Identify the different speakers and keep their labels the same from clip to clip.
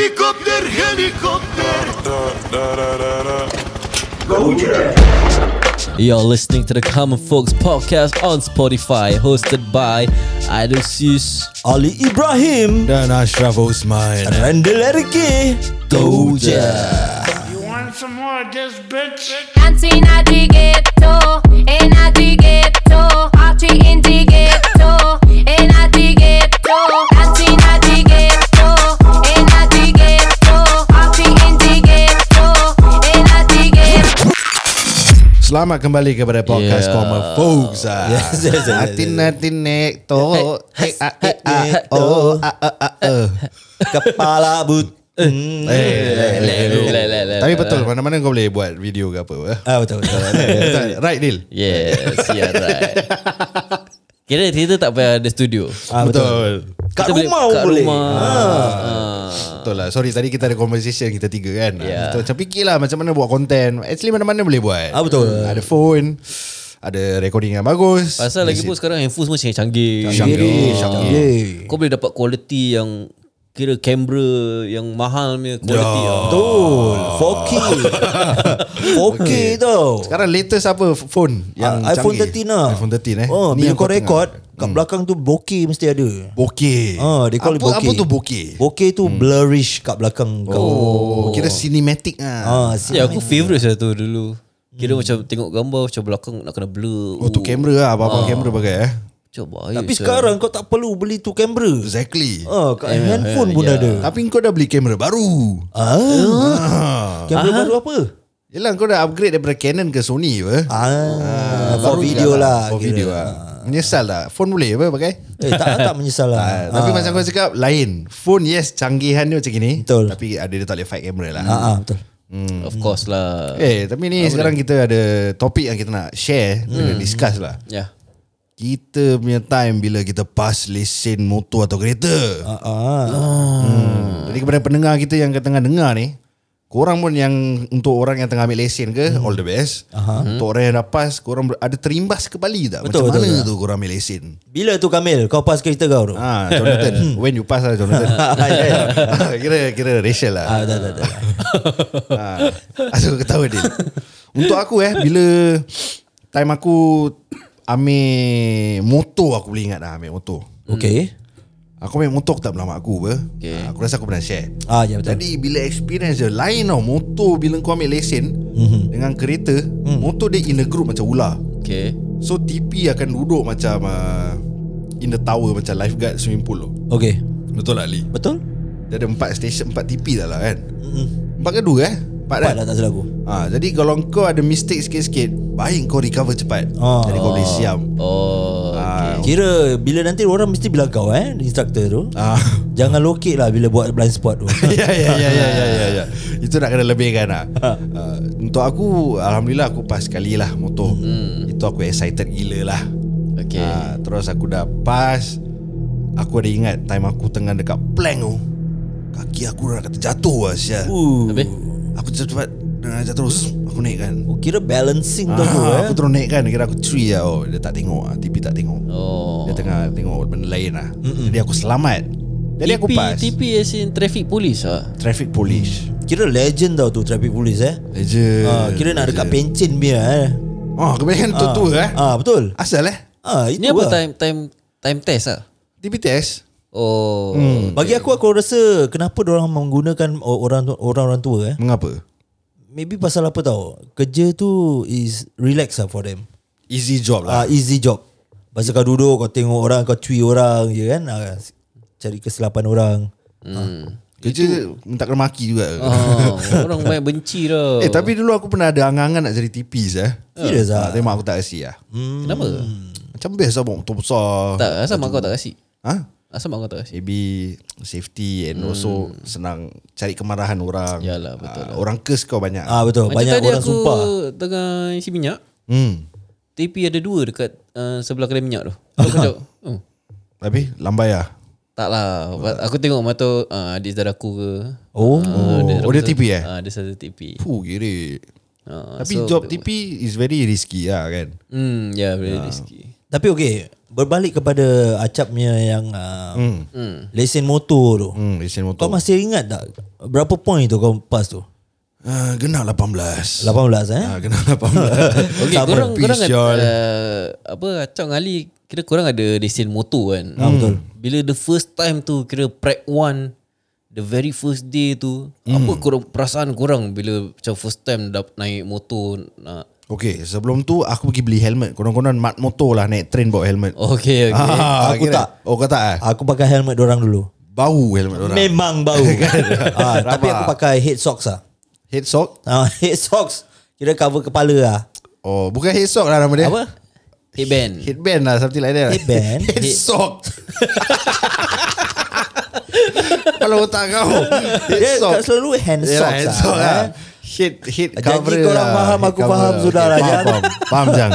Speaker 1: Helikopter, helikopter.
Speaker 2: You're listening to the Common Folks podcast on Spotify, hosted by Idol Seuss.
Speaker 3: Ali Ibrahim
Speaker 4: Dan Ashraf Osman
Speaker 3: Randall Erke
Speaker 2: Go je.
Speaker 5: You want some more of this bitch?
Speaker 6: Anzi in di ghetto, in di ghetto, oggi in di ghetto, in di ghetto, anzi in di ghetto, in di ghetto, oggi in di ghetto, in di ghetto.
Speaker 4: Selamat kembali kepada podcast
Speaker 2: Yeah.
Speaker 4: yeah. Common Folks ah.
Speaker 3: Yes, yes, yes, yes.
Speaker 4: Atin atin nek to
Speaker 3: Hey,
Speaker 4: eh, ah, eh, ah,
Speaker 3: hey,
Speaker 4: eh, oh ah, ah, ah, eh.
Speaker 3: Kepala but
Speaker 4: Eh, eh,
Speaker 2: leh,
Speaker 4: eh,
Speaker 2: leh,
Speaker 4: eh.
Speaker 2: leh, leh, leh,
Speaker 4: Tapi
Speaker 2: leh,
Speaker 4: betul mana-mana kau boleh buat video ke apa eh.
Speaker 3: Ah betul betul.
Speaker 4: Betul, Right Dil
Speaker 2: Yes, yeah right. Kira kita tak payah ada studio.
Speaker 3: Ah,
Speaker 4: Betul
Speaker 3: Kat
Speaker 2: Kita
Speaker 3: rumah pun
Speaker 2: kat
Speaker 3: boleh.
Speaker 2: Rumah. Ah.
Speaker 4: Betul lah Sorry tadi kita ada conversation Kita tiga kan
Speaker 2: Yeah.
Speaker 4: yeah. Macam fikirlah Macam mana buat konten Actually mana-mana boleh buat
Speaker 3: Ah, betul.
Speaker 4: Ada phone Ada recording yang bagus
Speaker 2: Pasal lagi pun sekarang handphone semua canggih canggih.
Speaker 3: Eh,
Speaker 4: Canggih, canggih.
Speaker 2: Kau boleh dapat quality yang kira kamera yang mahal punya quality. Ah. Yeah.
Speaker 3: Betul. 4K. 4K tau.
Speaker 4: Sekarang latest apa phone
Speaker 3: Yang
Speaker 4: yang
Speaker 3: iPhone
Speaker 4: canggih?
Speaker 3: 13 lah.
Speaker 4: iPhone 13 eh.
Speaker 3: Oh,
Speaker 4: Ni
Speaker 3: bila
Speaker 4: yang
Speaker 3: kau
Speaker 4: tengah. Hmm.
Speaker 3: record, kat belakang tu bokeh mesti ada.
Speaker 4: Bokeh.
Speaker 3: Ah, they call
Speaker 4: apa,
Speaker 3: it bokeh.
Speaker 4: Apa tu bokeh? Hmm.
Speaker 3: Bokeh tu blurrish kat belakang kau.
Speaker 4: Oh, kira cinematic
Speaker 3: Ah,
Speaker 4: ah.
Speaker 2: Ya, aku favourite saya tu dulu. Kira macam tengok gambar macam belakang nak kena blur.
Speaker 4: Oh, tu kamera lah.
Speaker 3: Ah.
Speaker 4: Abang-abang kamera pakai eh.
Speaker 2: Coba.
Speaker 3: Tapi sekarang kau tak perlu beli tu kamera.
Speaker 4: Exactly.
Speaker 3: Ah, kat handphone pun
Speaker 2: ya.
Speaker 3: ada.
Speaker 4: Tapi kau dah beli kamera baru. Ha.
Speaker 3: Ah. Kamera baru apa?
Speaker 4: Yelah kau dah upgrade daripada Canon ke Sony apa?
Speaker 3: Ah, for
Speaker 4: Baru
Speaker 3: video
Speaker 4: dah
Speaker 3: lah.
Speaker 4: For
Speaker 3: kira.
Speaker 4: video lah. Menyesal tak? Phone boleh apa pakai?
Speaker 3: Eh, tak, tak menyesal lah.
Speaker 4: Ah, Tapi macam kau cakap lain. Phone yes canggihan dia macam ni.
Speaker 3: Betul.
Speaker 4: Tapi ada dia tak boleh fight kamera lah.
Speaker 3: Ah, ah, betul.
Speaker 2: Of course lah.
Speaker 4: Eh tapi ni sekarang kita ada topik yang kita nak share, kita
Speaker 3: Hmm.
Speaker 4: discuss lah.
Speaker 2: Ya.
Speaker 4: Kita punya time bila kita pas lesen motor atau kereta.
Speaker 3: Ah, ah.
Speaker 4: Hmm. Jadi kepada pendengar kita yang tengah dengar ni, korang pun yang untuk orang yang tengah ambil lesen ke,
Speaker 3: Hmm.
Speaker 4: all the best. Hmm. Untuk orang yang dah pas, korang ber- ada terimbas ke Bali tak?
Speaker 3: Betul,
Speaker 4: Macam
Speaker 3: betul,
Speaker 4: mana
Speaker 3: betul.
Speaker 4: tu korang ambil lesen?
Speaker 3: Bila tu Kamil, kau pas kereta kau tu?
Speaker 4: Ah, Jonathan, when you pass lah Jonathan. Ah,
Speaker 3: ya, ya.
Speaker 4: kira kira racial lah.
Speaker 3: Ah, dah, dah, dah.
Speaker 4: Ah, aku ketawa dia. Untuk aku eh bila time aku ambil motor aku boleh ingat dah ambil motor.
Speaker 3: Okay.
Speaker 4: Aku ambil motor aku tak pernah mak aku apa. Okay. Aku rasa aku pernah share.
Speaker 3: Ah, ya betul.
Speaker 4: Jadi bila experience dia lain tau motor bila kau ambil lesen mm-hmm.
Speaker 3: Mhm.
Speaker 4: dengan kereta, mm.
Speaker 3: Hmm.
Speaker 4: motor dia in a group macam ular.
Speaker 2: Okay.
Speaker 4: So TP akan duduk macam uh, in the tower macam lifeguard swimming pool tu.
Speaker 3: Okay.
Speaker 4: Betul tak Ali?
Speaker 3: Betul?
Speaker 4: Dia ada empat station, empat TP dah lah kan? Empat ke dua eh? Empat,
Speaker 3: Mhm. Empat
Speaker 4: kan?
Speaker 3: lah tak salah aku.
Speaker 4: Ha, jadi kalau kau ada mistake sikit-sikit Baik kau recover cepat
Speaker 3: Ah.
Speaker 4: Jadi kau boleh siam
Speaker 2: Oh.
Speaker 4: ha,
Speaker 3: Kira bila nanti orang mesti bilang kau eh, instructor tu.
Speaker 4: ah.
Speaker 3: Jangan lokek lah bila buat blind spot tu.
Speaker 4: ya, ya, ya, ya, ya, ya, ya. Itu nak kena lebihkan lah
Speaker 3: Ha.
Speaker 4: uh, Untuk aku Alhamdulillah aku pas sekali lah motor
Speaker 3: Hmm.
Speaker 4: Itu aku excited gila lah
Speaker 2: Okay.
Speaker 4: Ah, Terus aku dah pas Aku ada ingat time aku tengah dekat plank tu Kaki aku dah kata jatuh lah Syah
Speaker 3: Uh,
Speaker 2: Habis?
Speaker 4: Aku cepat-cepat dah jatuh terus Aku naik kan
Speaker 3: oh, kira balancing kau tu
Speaker 4: Ah,
Speaker 3: eh.
Speaker 4: aku terus naik kan Kira aku curi lah oh, Dia tak tengok lah TV tak tengok
Speaker 2: Oh.
Speaker 4: Dia tengah tengok benda lain lah Mm-mm. Jadi aku selamat Jadi aku
Speaker 2: TP,
Speaker 4: pas
Speaker 2: TP as in traffic police ah.
Speaker 4: Traffic police
Speaker 3: Kira legend tau tu traffic police eh.
Speaker 4: Legend
Speaker 3: Ah, kira nak dekat pencin dia eh.
Speaker 4: Oh kebanyakan tu-tu eh
Speaker 3: Ah, betul.
Speaker 4: Asal eh
Speaker 3: Ah, itu
Speaker 2: Ini apa
Speaker 3: lah.
Speaker 2: time time time test ah?
Speaker 4: TP test
Speaker 2: Oh.
Speaker 3: Bagi aku aku rasa kenapa orang menggunakan orang orang-orang tua eh.
Speaker 4: Mengapa?
Speaker 3: Maybe pasal apa tau Kerja tu is relax lah for them
Speaker 4: Easy job
Speaker 3: ah
Speaker 4: lah
Speaker 3: uh, Easy job Pasal kau duduk Kau tengok orang Kau cuy orang je kan uh, Cari kesilapan orang
Speaker 4: Kerja minta kena maki juga
Speaker 2: Oh, orang banyak benci dah.
Speaker 4: Eh tapi dulu aku pernah ada angan-angan nak jadi TP eh
Speaker 3: Serius ah?
Speaker 4: Tapi mak aku tak kasi lah
Speaker 2: kenapa?
Speaker 3: hmm.
Speaker 4: Macam best lah bawa motor besar
Speaker 2: Hmm. Tak, asal mak kau tak kasi.
Speaker 4: Ha?
Speaker 2: Asal mak kau tak kasi.
Speaker 4: Maybe safety and also senang cari kemarahan orang
Speaker 2: Yalah, betul
Speaker 4: Ah, Orang curse kau banyak
Speaker 3: Ah uh, Betul
Speaker 2: Macam
Speaker 3: Banyak
Speaker 2: tadi
Speaker 3: orang
Speaker 2: aku
Speaker 3: sumpah
Speaker 2: tengah isi minyak,
Speaker 4: Hmm
Speaker 2: TP ada dua dekat uh, sebelah kedai minyak tu. Aku cakap, oh,
Speaker 4: Tapi lambai lah
Speaker 2: tak lah. Aku tengok mata uh, adik saudara aku ke.
Speaker 3: Oh.
Speaker 2: Ah,
Speaker 4: Oh, dia TP eh?
Speaker 2: Ah, dia satu TP.
Speaker 4: Puh giri
Speaker 2: Ah,
Speaker 4: Tapi
Speaker 2: so-
Speaker 4: job TP is very risky lah kan
Speaker 2: Hmm, yeah, very risky.
Speaker 3: Tapi okey, berbalik kepada Acap punya yang uh, hmm. lesen motor tu.
Speaker 4: Hmm, lesen
Speaker 3: Kau
Speaker 4: motor.
Speaker 3: masih ingat tak berapa point tu kau pass tu?
Speaker 4: Ah, genap
Speaker 3: 18
Speaker 4: 18.
Speaker 3: eh?
Speaker 4: Ah, genap 18.
Speaker 2: Okay,
Speaker 3: Sama.
Speaker 2: korang, korang
Speaker 4: Peace, Yol.
Speaker 2: uh, apa Acap dengan Ali kira korang ada lesen motor kan.
Speaker 3: Ah, betul.
Speaker 2: Bila the first time tu kira prac 1 the very first day tu mm. apa korang perasaan korang bila macam first time dapat naik motor nak
Speaker 4: Okay, sebelum tu aku pergi beli helmet. Konon-konon mat motor lah naik train bawa helmet.
Speaker 2: Okay, okay.
Speaker 4: Ah,
Speaker 3: Oh, Aku
Speaker 4: kira.
Speaker 3: tak.
Speaker 4: Oh, kau tak eh?
Speaker 3: Aku pakai helmet orang dulu.
Speaker 4: Bau helmet orang.
Speaker 3: Memang bau. ha, tapi
Speaker 4: Rabak.
Speaker 3: aku pakai head socks ah.
Speaker 4: Head sock?
Speaker 3: Ha, head socks kira cover kepala ah.
Speaker 4: Oh, bukan head sock lah nama dia.
Speaker 2: Apa? Headband.
Speaker 4: Headband lah, something like that.
Speaker 3: Headband?
Speaker 4: Head
Speaker 2: Head-
Speaker 4: sock. Kalau otak kau. Head
Speaker 3: Dia
Speaker 4: sock.
Speaker 3: tak selalu hand
Speaker 4: Yalah,
Speaker 3: socks.
Speaker 4: Head
Speaker 3: ah,
Speaker 4: sock lah.
Speaker 3: eh.
Speaker 4: Head, head
Speaker 3: Janji
Speaker 4: cover
Speaker 3: korang
Speaker 4: lah.
Speaker 3: faham,
Speaker 4: Head
Speaker 3: aku
Speaker 4: cover.
Speaker 3: faham
Speaker 4: Okay,
Speaker 3: sudah lah,
Speaker 4: Faham,
Speaker 3: Jan.
Speaker 4: faham. Faham, Jang.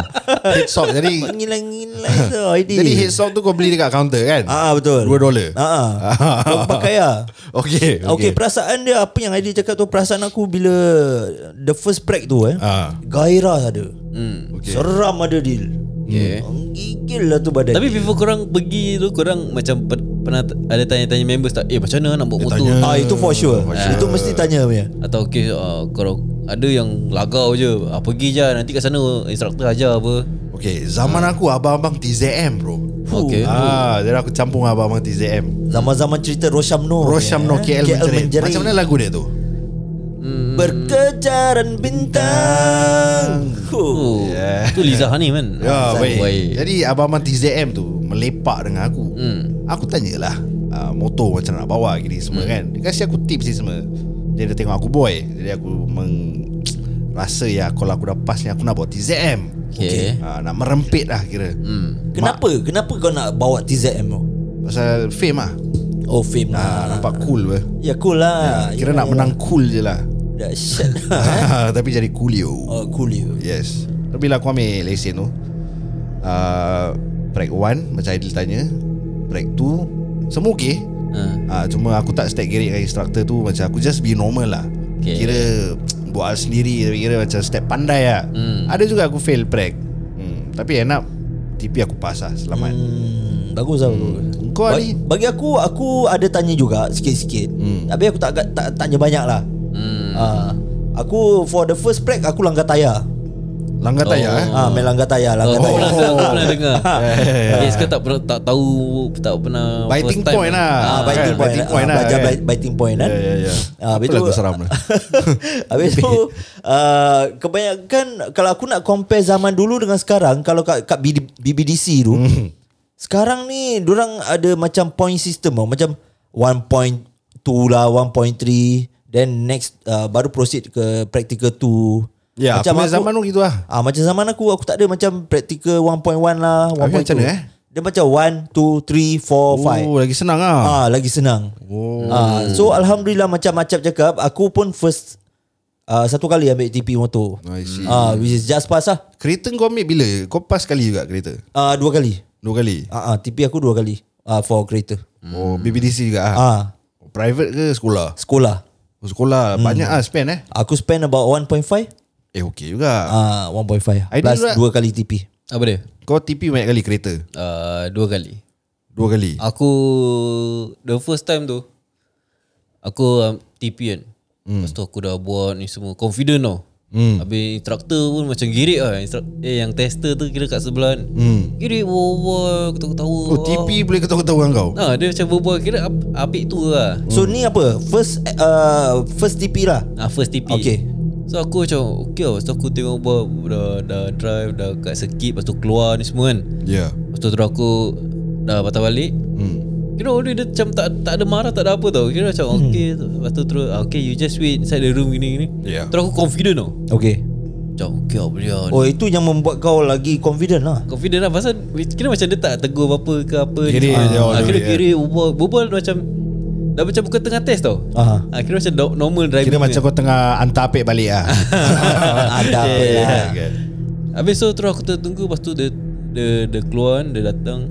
Speaker 4: Head sock. Jadi,
Speaker 3: Ngilang-ngilang tu ID.
Speaker 4: jadi head sock tu kau beli dekat kaunter kan?
Speaker 3: Ah betul.
Speaker 4: Dua dolar.
Speaker 3: Ah. ah. Kau pakai ah.
Speaker 4: Okay,
Speaker 3: Okay. okay, perasaan dia apa yang Aidil cakap tu perasaan aku bila the first break tu eh.
Speaker 4: Ah.
Speaker 3: Gairah ada. Hmm. Okay.
Speaker 4: Okay.
Speaker 3: Seram ada deal.
Speaker 4: Eh.
Speaker 2: Okay.
Speaker 3: Hmm. Menggigil lah tu badan.
Speaker 2: Tapi before korang pergi tu Korang macam per, pernah t- ada tanya-tanya members tak Eh macam mana nak buat motor
Speaker 4: tanya.
Speaker 2: tanya.
Speaker 3: ah itu for sure.
Speaker 4: For
Speaker 3: Itu mesti tanya punya.
Speaker 2: Atau okay uh, Kalau ada yang lagau je ah, Pergi je nanti kat sana Instructor ajar apa
Speaker 4: Okay, zaman aku abang-abang TZM bro.
Speaker 2: Okay
Speaker 4: Ah, jadi aku campur dengan abang-abang TZM.
Speaker 3: Zaman-zaman cerita Eh, Rosham Noor.
Speaker 4: Rosham No KL, menjerit. Macam mana lagu dia tu?
Speaker 3: Hmm. Berkejaran bintang. Huh.
Speaker 2: Oh, Tu Liza Hanim kan
Speaker 4: Ya,
Speaker 2: Liza
Speaker 4: baik. Hmm.
Speaker 2: Hanim.
Speaker 4: Jadi abang-abang TZM tu melepak dengan aku.
Speaker 2: Hmm,
Speaker 4: Aku tanyalah, uh, motor macam mana nak bawa gini semua kan. Dia kasi aku tips ni semua. Dia dia tengok aku boy. Jadi aku meng rasa ya kalau aku dah pas ni aku nak bawa TZM.
Speaker 2: Okay.
Speaker 4: Ah, nak merempit lah kira. Hmm.
Speaker 3: Kenapa? Kenapa kau nak bawa TZM tu?
Speaker 4: Pasal fame lah.
Speaker 3: Oh fame
Speaker 4: Ah,
Speaker 3: lah.
Speaker 4: nampak cool weh.
Speaker 3: Ya cool lah.
Speaker 4: Kira
Speaker 3: Ya,
Speaker 4: nak menang cool je lah. Ah,
Speaker 3: Dahsyat.
Speaker 4: eh? Tapi jadi coolio.
Speaker 3: oh cool you.
Speaker 4: Yes Tapi bila aku ambil lesen tu uh, Track 1 Macam Aidil tanya Track 2 Semua okay
Speaker 2: Ah.
Speaker 4: uh, Cuma aku tak step gerik dengan instructor tu Macam aku just be normal lah
Speaker 2: Okay.
Speaker 4: okay. Kira Buat hal sendiri Tapi kira macam step pandai lah hmm. Ada juga aku fail track hmm, Tapi end up TP aku pass lah Selamat hmm.
Speaker 3: Hmm, bagus lah bagus.
Speaker 4: Kau
Speaker 3: Ba-
Speaker 4: ni
Speaker 3: Bagi aku Aku ada tanya juga Sikit-sikit Tapi aku tak, agak- tak tanya banyak lah Ah, Aku For the first break Aku langgar tayar
Speaker 4: Langgar tayar eh
Speaker 3: Ah, main langgar tayar
Speaker 2: Oh,
Speaker 3: Langgar
Speaker 2: aku
Speaker 3: tayar
Speaker 2: pernah, aku pernah dengar Okay, sekarang tak pernah tak tahu tak pernah
Speaker 4: Biting
Speaker 2: first time.
Speaker 4: point lah.
Speaker 3: Ah, biting point,
Speaker 4: Kan, biting
Speaker 3: biting
Speaker 4: point
Speaker 3: point
Speaker 4: lah,
Speaker 3: Belajar
Speaker 4: kan?
Speaker 3: bi- biting point kan
Speaker 4: Ya, ya, ya.
Speaker 3: Ah, habis
Speaker 4: Apa
Speaker 3: tu
Speaker 4: lagu seram lah. ni?
Speaker 3: Habis tu ah, Kebanyakan Kalau aku nak compare zaman dulu dengan sekarang Kalau kat, kat BD, BBDC tu
Speaker 4: Hmm.
Speaker 3: Sekarang ni Diorang ada macam point system tau. Macam 1.2 lah 1.3 Then next ah, Baru proceed ke practical 2
Speaker 4: Ya, aku punya zaman tu gitu lah.
Speaker 3: Ah macam zaman aku aku tak ada macam practical 1.1 lah, 1.2.
Speaker 4: Habis macam mana, eh?
Speaker 3: Dia macam 1 2 3 4 5.
Speaker 4: Oh lagi senang lah
Speaker 3: Ah lagi senang. Oh. Ah so alhamdulillah macam macam cakap aku pun first ah, satu kali ambil TP motor.
Speaker 4: I see.
Speaker 3: Ah which is just pass lah.
Speaker 4: Kereta kau ambil bila? Kau pass sekali juga kereta?
Speaker 3: Ah dua kali.
Speaker 4: Dua kali?
Speaker 3: Ah, ah TP aku dua kali. Ah for kereta.
Speaker 4: Oh BBDC juga ah.
Speaker 3: Ah
Speaker 4: Private ke sekolah?
Speaker 3: sekolah.
Speaker 4: Oh, Sekolah hmm. banyak ah spend eh.
Speaker 3: Aku spend about 1.5
Speaker 4: Eh okey juga.
Speaker 3: ah 1.5
Speaker 4: Ideal
Speaker 3: plus
Speaker 4: lah.
Speaker 3: dua kali TP.
Speaker 2: Apa dia?
Speaker 4: Kau TP banyak kali kereta?
Speaker 2: Uh, dua kali
Speaker 4: Dua kali.
Speaker 2: Aku The first time tu Aku um, TP kan hmm. Lepas tu aku dah buat ni semua Confident tau hmm. Habis instructor pun macam girik lah Instru- Eh yang tester tu kira kat sebelah kan hmm. Girik berbual Ketawa-ketawa
Speaker 4: Oh TP boleh ketawa-ketawa dengan kau.
Speaker 2: ha, Dia macam berbual Kira ap- apik tu lah
Speaker 3: So ni apa? First uh, first TP lah.
Speaker 2: ah, First TP
Speaker 3: Okay.
Speaker 2: So aku macam Okay lah Lepas tu aku tengok buat dah, dah drive Dah kat circuit Lepas tu keluar ni semua kan
Speaker 4: Ya.
Speaker 2: Lepas tu terus aku dah patah balik. Hmm. Kira orang dia macam tak tak ada marah tak ada apa tau. Kira macam hmm. okay tu. Lepas tu terus ah, okay you just wait inside the room gini gini.
Speaker 4: Yeah.
Speaker 2: Terus aku confident tau.
Speaker 3: Okay.
Speaker 2: Macam okay lah boleh lah.
Speaker 3: Oh itu yang membuat kau lagi confident lah
Speaker 2: Confident lah pasal kira macam dia tak tegur apa-apa ke apa.
Speaker 4: Kiri
Speaker 2: Ah,
Speaker 4: je orang
Speaker 2: ah,
Speaker 4: tu,
Speaker 2: Kira
Speaker 4: yeah.
Speaker 2: kiri berbual, berbual macam dah macam bukan tengah test tau.
Speaker 3: Aha.
Speaker 2: Ah, kira macam do- normal driving.
Speaker 4: Kira macam
Speaker 2: kan.
Speaker 4: kau tengah hantar apik balik ah.
Speaker 3: Ada apa lah
Speaker 4: Okay.
Speaker 2: Habis tu terus aku tertunggu Lepas tu dia Dia, dia keluar kan, Dia datang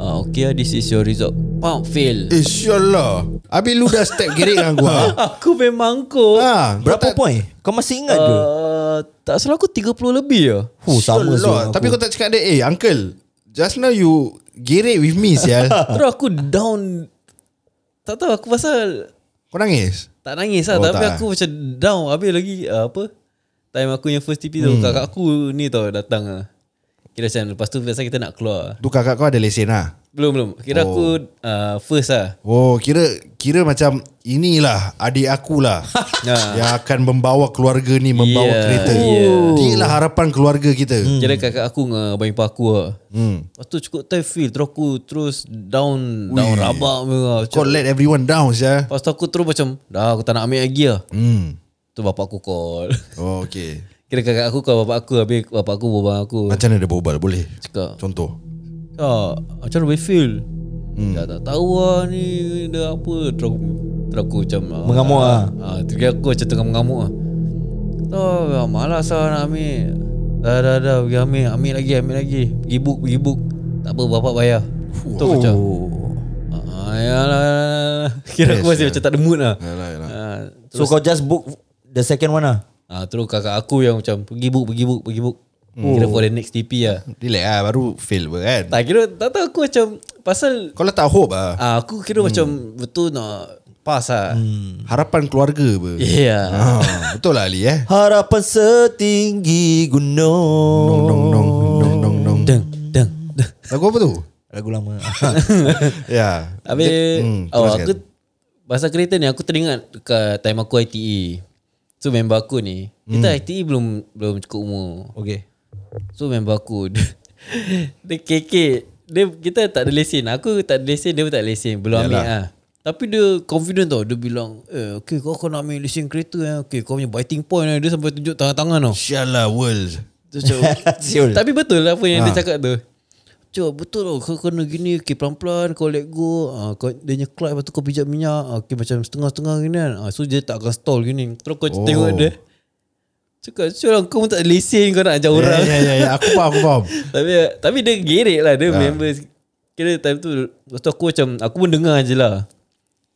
Speaker 2: ah, Okay lah this is your result Pump fail
Speaker 4: Eh syallah. Habis lu dah step gerik dengan gua. ah.
Speaker 2: Aku memang kau
Speaker 4: Ha,
Speaker 3: Berapa point? Kau masih ingat ke?
Speaker 2: Uh, tak salah aku 30 lebih ya.
Speaker 3: Huh, sama
Speaker 4: Oh, sama
Speaker 3: so
Speaker 4: Tapi kau tak cakap dia, "Eh, uncle, Just now you Gerek with me sial
Speaker 2: Terus aku down Tak tahu aku pasal
Speaker 4: Kau nangis
Speaker 2: Tak nangis lah
Speaker 4: Oh,
Speaker 2: oh, Tapi
Speaker 4: tak,
Speaker 2: tak. aku macam down Habis lagi uh, Apa Time aku yang first TP tu Kakak aku ni tau datang lah Kira macam Lepas tu biasa kita nak keluar
Speaker 4: Tu kakak kau ada lesen lah
Speaker 2: Belum belum Kira oh. aku uh, First lah
Speaker 4: Oh kira Kira macam Inilah Adik akulah
Speaker 2: Ya.
Speaker 4: Yang akan membawa keluarga ni Membawa
Speaker 2: Ya,
Speaker 4: kereta
Speaker 2: ya.
Speaker 4: Dia lah harapan keluarga kita
Speaker 2: Kira kakak aku dengan abang ipar aku lah hmm. Lepas tu cukup time feel Terus aku terus down Down
Speaker 4: Ui.
Speaker 2: rabak punya lah.
Speaker 4: Kau
Speaker 2: Macam-
Speaker 4: let everyone down sial
Speaker 2: Lepas tu aku terus macam Dah aku tak nak ambil lagi lah
Speaker 4: Hmm
Speaker 2: Tu bapak aku call
Speaker 4: Oh okay
Speaker 2: Kira kakak aku call bapak aku Habis bapak aku berbual aku
Speaker 4: Macam mana dia berubah boleh
Speaker 2: Cakap
Speaker 4: Contoh
Speaker 2: Ah, macam mana boleh feel? Hmm. Dah tak tahu lah ni dah apa. Terus aku, terus aku macam ah,
Speaker 3: Mengamuk
Speaker 2: ah.
Speaker 3: ah.
Speaker 2: Ah, terus aku macam tengah mengamuk ah. Oh, ah, malas lah nak ambil. Dah dah dah pergi ambil, ambil lagi, ambil lagi. Pergi book, pergi book. Tak apa bapak bayar. Tu oh. macam. Ah, yalah, yalah. lah. Kira aku
Speaker 4: Yes,
Speaker 2: masih
Speaker 4: yeah.
Speaker 2: macam tak ada mood lah.
Speaker 4: Yalah, yalah.
Speaker 2: Ah,
Speaker 3: So
Speaker 2: terus,
Speaker 3: kau just book the second one lah.
Speaker 2: ah, terus kakak aku yang macam pergi book, pergi book, pergi book. Kira for the next TP lah.
Speaker 4: Relax lah Baru fail pun kan
Speaker 2: Tak kira tak tahu aku macam pasal
Speaker 4: Kau letak hope lah
Speaker 2: Ah, aku kira hmm. macam betul nak pass lah. Ya. Hmm.
Speaker 4: Harapan keluarga pun
Speaker 2: Yeah.
Speaker 4: Ah, Betul lah Ali eh
Speaker 3: Harapan setinggi
Speaker 2: Oh.
Speaker 4: Nong
Speaker 3: gunung.
Speaker 4: nong nong nong nong nong
Speaker 2: Deng, deng, deng.
Speaker 4: Lagu apa tu?
Speaker 3: Lagu lama.
Speaker 4: Ya
Speaker 2: Habis,
Speaker 4: Hmm,
Speaker 2: oh,
Speaker 4: teruskan.
Speaker 2: aku, pasal kereta ni aku teringat dekat time aku ITE. So member aku ni, kita ITE belum belum cukup umur.
Speaker 3: okay.
Speaker 2: So member aku, dia, dia kekek. Dia, kita tak ada lesen. Aku tak ada lesen, dia pun tak ada lesen. Belum ambil lah. Tapi dia confident tau. Dia bilang, eh, okay kau kau nak ambil lesen kereta eh. Okay, kau punya biting point eh. Dia sampai tunjuk tangan-tangan tau.
Speaker 4: Inshallah world
Speaker 2: Dia macam,
Speaker 3: Siul.
Speaker 2: Tapi betul lah apa yang ha. dia cakap tu. Cuk, betul lah kau kena gini okay, pelan-pelan kau let go ah, kau dia punya clutch lepas tu kau pijak minyak ah, okay, macam setengah-setengah gini kan ah, so dia tak akan stall gini terus kau
Speaker 4: Oh.
Speaker 2: oh. tengok dia cakap cuk lah kau pun tak ada lesen kau nak ajak orang
Speaker 4: Ya, ya, ya. Aku faham, aku faham.
Speaker 2: tapi tapi dia gerik lah
Speaker 3: Ah.
Speaker 2: dia ha. member kira time tu lepas tu aku macam aku pun dengar je lah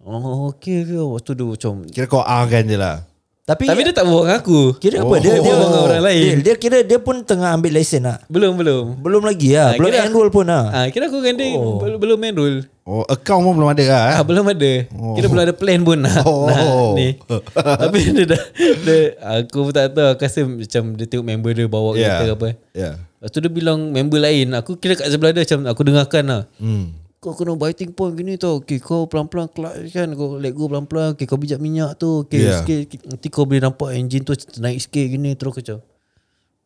Speaker 2: oh okay, okay. lepas tu dia macam
Speaker 4: Kira kau ah kan je lah.
Speaker 3: Tapi,
Speaker 2: tapi dia tak bohong aku
Speaker 3: kira apa? Dia,
Speaker 2: Oh.
Speaker 3: dia,
Speaker 2: Orang orang lain.
Speaker 3: Dia, dia kira dia pun tengah ambil lesen lah.
Speaker 2: belum belum
Speaker 3: Belum lagi lah.
Speaker 2: Ah,
Speaker 3: Belum
Speaker 2: kira-
Speaker 3: enroll pun lah.
Speaker 2: ah, kira aku dengan dia bel- belum main role
Speaker 4: Oh, account pun belum ada lah.
Speaker 2: Ah,
Speaker 4: Eh?
Speaker 2: belum ada. Oh. Kira belum ada plan pun nak. Oh.
Speaker 4: Oh.
Speaker 2: Nak, ni. Tapi dia dah dia, aku pun tak tahu aku rasa macam dia tengok member dia bawa
Speaker 4: Ya.
Speaker 2: yeah. kereta ke apa.
Speaker 4: Ya.
Speaker 2: Lepas tu dia bilang member lain Aku kira kat sebelah dia macam Aku dengarkan lah hmm. Kau kena biting point gini tau Okay kau pelan-pelan clutch kan Kau let go pelan-pelan Okay kau bijak minyak tu Okay
Speaker 4: Yeah.
Speaker 2: yeah. sikit Nanti kau boleh nampak Engine tu naik sikit gini Terus kau macam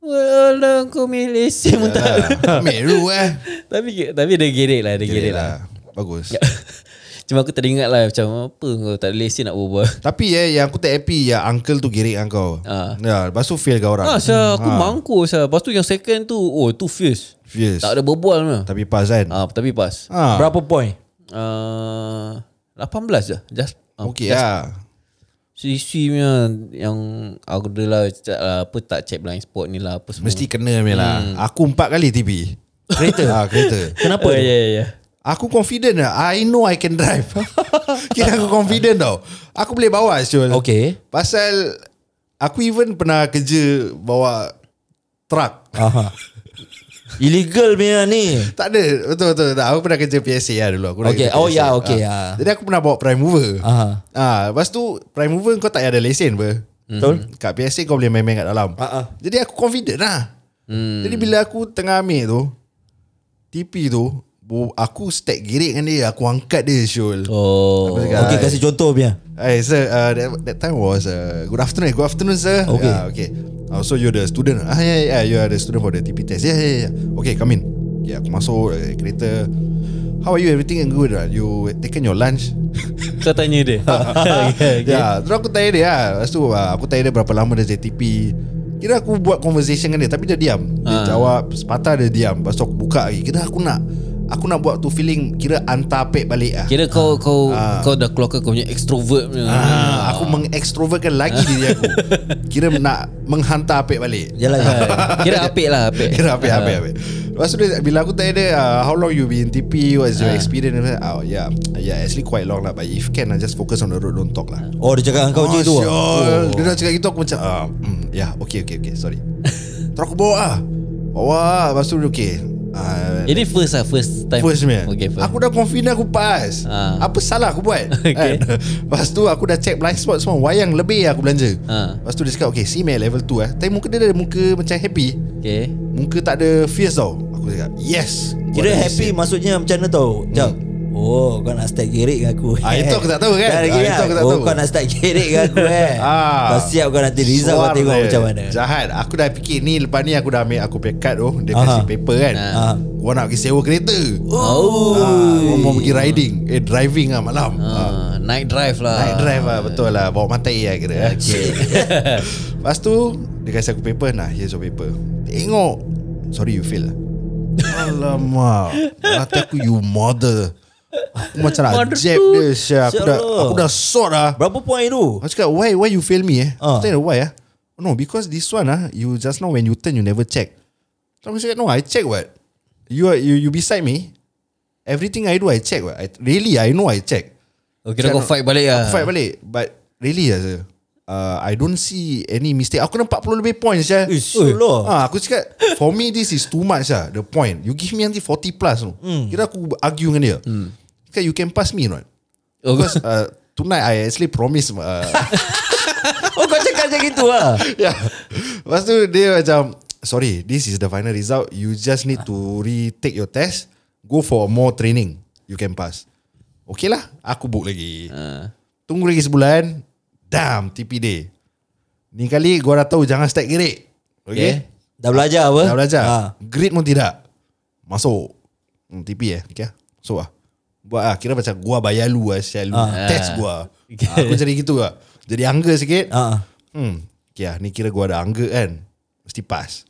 Speaker 2: Walau kau milih sim pun tak ada.
Speaker 4: Meru eh.
Speaker 2: Tapi tapi dia gerik lah Dia gerik,
Speaker 4: Jadi
Speaker 2: lah,
Speaker 4: lah. Bagus.
Speaker 2: Cuma aku teringat lah Macam apa kau tak ada lesen nak berbual
Speaker 4: Tapi eh, yang aku tak happy, ya uncle tu gerik dengan kau.
Speaker 2: Ah.
Speaker 4: Ya, lepas tu fail kau orang.
Speaker 2: Ah, saya aku mangkuk saya. Lepas tu yang second tu, oh tu fierce.
Speaker 4: Fierce.
Speaker 2: Tak ada berbual mana.
Speaker 4: Tapi pas kan?
Speaker 2: Ah, tapi pas.
Speaker 4: Ah,
Speaker 3: Berapa point?
Speaker 2: Ah, 18 je. Just ah,
Speaker 4: okay lah.
Speaker 2: Sisi punya yang aku dah lah, cakap lah apa tak check blind spot ni lah apa semua.
Speaker 4: Mesti kena me lah.
Speaker 2: Hmm.
Speaker 4: Aku empat kali TP. Kereta? ah, kereta.
Speaker 3: Kenapa?
Speaker 2: Oh, ya ya ya.
Speaker 4: Aku confident lah. I know I can drive. Kira aku confident tau. Aku boleh bawa Syul.
Speaker 3: Okay.
Speaker 4: Pasal aku even pernah kerja bawa truck.
Speaker 3: Aha. Illegal punya ni.
Speaker 4: Tak ada Betul betul tak. Aku pernah kerja PSA lah dulu aku pernah
Speaker 3: Okay.
Speaker 4: kerja
Speaker 3: Oh,
Speaker 4: PSA.
Speaker 3: ya, okay,
Speaker 4: Ah.
Speaker 3: ya.
Speaker 4: Jadi aku pernah bawa prime mover
Speaker 3: Aha.
Speaker 4: ah, Lepas tu Prime mover kau tak payah ada lesen apa Betul Kat PSA kau boleh main-main kat dalam
Speaker 3: Hmm. Ah, Hmm. ah.
Speaker 4: Jadi aku confident lah Jadi bila aku tengah ambil tu TP tu bu- Aku stack girik dengan dia Aku angkat dia Syul
Speaker 2: Oh.
Speaker 3: Okay, kasih contoh punya.
Speaker 4: Hey sir, uh, that, that time was uh, good afternoon. Good afternoon sir.
Speaker 3: Okay.
Speaker 4: Yeah, okay. Oh, so you're the student. Ah yeah, yeah, you are the student for the TP test. Yeah, yeah, yeah. Okay, come in. Yeah, aku masuk uh, kereta. How are you? Everything good? Right? You taken your lunch?
Speaker 2: Kau tanya dia. okay.
Speaker 4: Okay. Yeah. Terus aku tanya dia. ah. Lepas tu ah, aku tanya dia berapa lama dia JTP. Kira aku buat conversation dengan dia tapi dia diam.
Speaker 2: Ah.
Speaker 4: Dia jawab sepatah dia diam. Lepas tu aku buka lagi. Kira aku nak aku nak buat tu feeling kira hantar pek balik ah.
Speaker 2: Kira kau kau kau dah keluarkan kau punya extrovert punya.
Speaker 4: Ah, aku mengekstrovertkan lagi diri aku. Kira nak menghantar apik balik.
Speaker 3: Jalan je.
Speaker 2: Kira apik lah apik.
Speaker 3: Ah.
Speaker 4: Kira apik apik apik. Lepas tu dia, bila aku tanya dia uh, how long you been in TP what's
Speaker 3: Ah.
Speaker 4: your experience Dia kata, oh yeah yeah actually quite long lah but if can I just focus on the road don't talk lah.
Speaker 3: Oh, dia cakap dengan kau je tu.
Speaker 4: Syol.
Speaker 3: ah?
Speaker 4: Dia dah cakap gitu aku macam ah mm, yeah okay okay okay sorry. Terus aku bawa ah. Bawa lah. lepas tu dia, okay. Ah,
Speaker 2: Ini first lah First time
Speaker 4: First punya
Speaker 2: Okay first
Speaker 4: Aku dah confident aku pass
Speaker 2: Ah.
Speaker 4: Apa salah aku buat
Speaker 2: Okay.
Speaker 4: kan? Lepas tu aku dah check blind spot semua Wayang lebih aku belanja
Speaker 2: Ah.
Speaker 4: Lepas tu dia cakap Okay CMA level 2 eh Tapi muka dia ada muka macam happy
Speaker 2: Okay
Speaker 4: Muka tak ada fierce tau Aku cakap yes
Speaker 3: Kira
Speaker 4: Buat
Speaker 3: happy
Speaker 4: lagi
Speaker 3: maksudnya macam mana tau Jom Oh kau nak start gerik dengan aku
Speaker 4: Hmm. Ah, itu aku tak tahu kan?
Speaker 3: Dah lagi
Speaker 4: Ah,
Speaker 3: kan?
Speaker 4: itu aku tak
Speaker 3: Oh
Speaker 4: tahu.
Speaker 3: kau nak start gerik dengan aku eh
Speaker 4: Ah.
Speaker 3: Kau siap kau nanti result kau
Speaker 4: Suar
Speaker 3: tengok
Speaker 4: dia.
Speaker 3: macam mana
Speaker 4: Jahat Aku dah fikir ni Lepas ni aku dah ambil Aku punya card tu Dia kasih
Speaker 3: Aha.
Speaker 4: paper kan
Speaker 3: Ah.
Speaker 4: Gua nak pergi sewa kereta
Speaker 3: Oh
Speaker 4: Ah, Gua mau pergi riding Eh driving lah malam Ah.
Speaker 2: Ah, Night drive lah
Speaker 4: Night drive lah Betul lah Bawa matai lah kira okay. Lepas tu Dia kasi aku paper Nah here's your paper Tengok Sorry you fail lah Alamak Kata aku you mother Aku macam nak
Speaker 2: Mother
Speaker 4: jab
Speaker 2: tu.
Speaker 4: dia Syah. Aku dah
Speaker 3: Sialah.
Speaker 4: Aku dah sort lah
Speaker 3: Berapa poin tu?
Speaker 4: Aku cakap why Why you fail me eh
Speaker 3: Ah.
Speaker 4: Aku tanya why ah No because this one ah You just now when you turn You never check So aku cakap no I check what You are, you you beside me Everything I do I check what I, Really I know I check
Speaker 2: Okay kira kau
Speaker 4: Cakap,
Speaker 2: fight balik lah
Speaker 4: Aku fight balik But really lah sir, uh, I don't see any mistake Aku kena 40 lebih points je
Speaker 3: Ish, Allah.
Speaker 4: ha, Aku cakap For me this is too much lah The point You give me nanti 40 plus tu Kira aku argue dengan dia Cakap you can pass me or not
Speaker 2: Oh,
Speaker 4: Because uh, Tonight I actually promise uh,
Speaker 3: Oh kau cakap macam gitu lah
Speaker 4: yeah. Ya. Lepas tu dia macam Sorry This is the final result You just need to Retake your test Go for more training You can pass Okay lah Aku book lagi Tunggu lagi sebulan Damn TP day Ni kali gua dah tahu Jangan stack gerik Okay,
Speaker 3: Dah belajar apa?
Speaker 4: Dah belajar
Speaker 3: Ha.
Speaker 4: Grade pun tidak Masuk hmm, TP eh okay, lah. Masuk lah Buat lah Kira macam gua bayar lu lah Sial lu Test gua Ah, Aku jadi gitu lah Jadi angga sikit
Speaker 3: Ha.
Speaker 4: Hmm. Okay lah, ni kira gua ada angka kan. Mesti pass.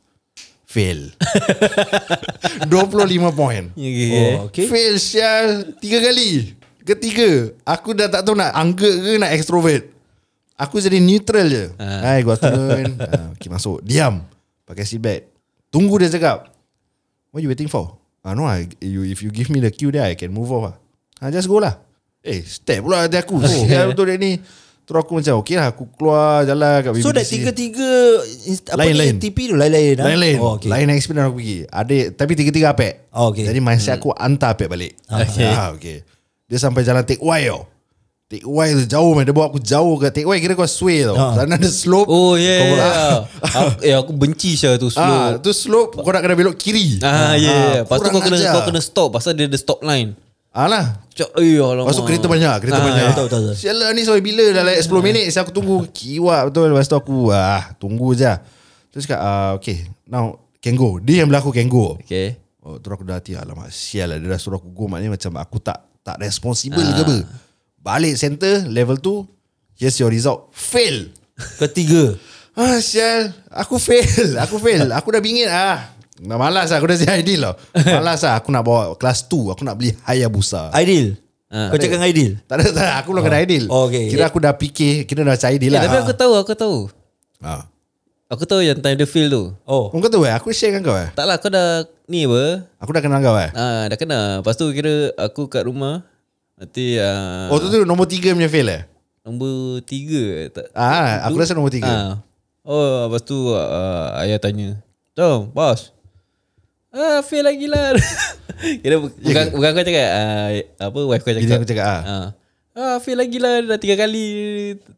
Speaker 4: Fail. 25 point.
Speaker 2: Okay.
Speaker 3: Oh, okay.
Speaker 4: Fail sial. Tiga kali. Ketiga. Aku dah tak tahu nak angka ke nak extrovert. Aku jadi neutral je. Hai, good afternoon. Ah, okay, masuk. Diam. Pakai seatbelt. Tunggu dia cakap. What you waiting for? Ah, no, I, you, if you give me the cue there, I can move off lah. Ah, just go lah. Eh, step pula hati aku. Sial betul dia ni. Terus aku macam, okay lah, aku keluar jalan kat
Speaker 3: So dah
Speaker 4: BBC.
Speaker 3: tiga-tiga inst- apa ni,
Speaker 4: Lain-lain.
Speaker 3: TP tu lain-lain ha?
Speaker 4: Lain-lain
Speaker 3: Oh, okay.
Speaker 4: Lain experience aku pergi Ada Tapi tiga-tiga apek
Speaker 3: Oh, okay.
Speaker 4: Jadi mindset aku Hantar apek balik
Speaker 2: Okay.
Speaker 4: ah, okay. Dia sampai jalan Take Y tau Take Y tu jauh man. Dia bawa aku jauh ke Take Y kira kau sway tau
Speaker 3: Ah.
Speaker 4: Sana ada slope
Speaker 2: Oh yeah, yeah. aku, eh, aku benci saya tu
Speaker 4: Ah,
Speaker 2: slow.
Speaker 4: tu slope Kau nak kena belok kiri
Speaker 2: Ah, yeah, yeah. Lepas tu kau kena
Speaker 4: kurang ajar.
Speaker 2: kau kena stop pasal dia ada stop line.
Speaker 4: Alah
Speaker 2: Cak, eh alamak.
Speaker 4: Ah, lah. Lepas tu kereta banyak Kereta
Speaker 2: Ah,
Speaker 4: banyak
Speaker 3: betul, betul, betul.
Speaker 4: Sial lah ni sampai bila Dah like 10 minit Saya aku tunggu Kiwak betul Lepas tu aku ah, Tunggu je Terus cakap ah, Okay Now Can go Dia yang berlaku can go
Speaker 2: Okay.
Speaker 4: Oh, terus aku dah hati Alamak sial lah Dia dah suruh aku go Maknanya macam aku tak Tak responsible
Speaker 2: Ah.
Speaker 4: ke apa Balik center Level 2 Here's your result Fail
Speaker 3: Ketiga.
Speaker 4: Ah sial Aku fail Aku fail Aku dah bingit ah Dah malas lah Aku dah si Aidil lah Malas lah Aku nak bawa kelas 2 Aku nak beli Hayabusa
Speaker 3: Aidil.
Speaker 2: Ah.
Speaker 3: Kau cakap dengan Aidil.
Speaker 4: Tak ada tak ada Aku belum kena Aidil
Speaker 3: Oh, okay.
Speaker 4: Kira aku dah fikir Kira dah macam Aidil
Speaker 2: Eh,
Speaker 4: lah
Speaker 2: tapi aku tahu, aku tahu.
Speaker 4: ah.
Speaker 2: Aku tahu yang time the field tu.
Speaker 3: Oh.
Speaker 4: Kau tahu eh Aku share dengan kau eh
Speaker 2: Tak lah kau dah ni apa?
Speaker 4: Aku dah kenal kau eh
Speaker 2: Ah, dah kena. Lepas tu kira aku kat rumah. Nanti ah,
Speaker 4: Oh tu tu nombor 3 punya fail eh
Speaker 2: nombor tiga. Tak,
Speaker 4: Ah, Aku rasa nombor 3
Speaker 2: Ah. Oh, lepas tu uh, ayah tanya, "Tom, bos." Ah, fail lagi lah. Kira bu- bukan, bukan kau cakap ah, apa wife kau
Speaker 4: Ya Bila
Speaker 2: cakap.
Speaker 4: aku cakap ah.
Speaker 2: Ah. Ah, fail lagi lah dah tiga kali.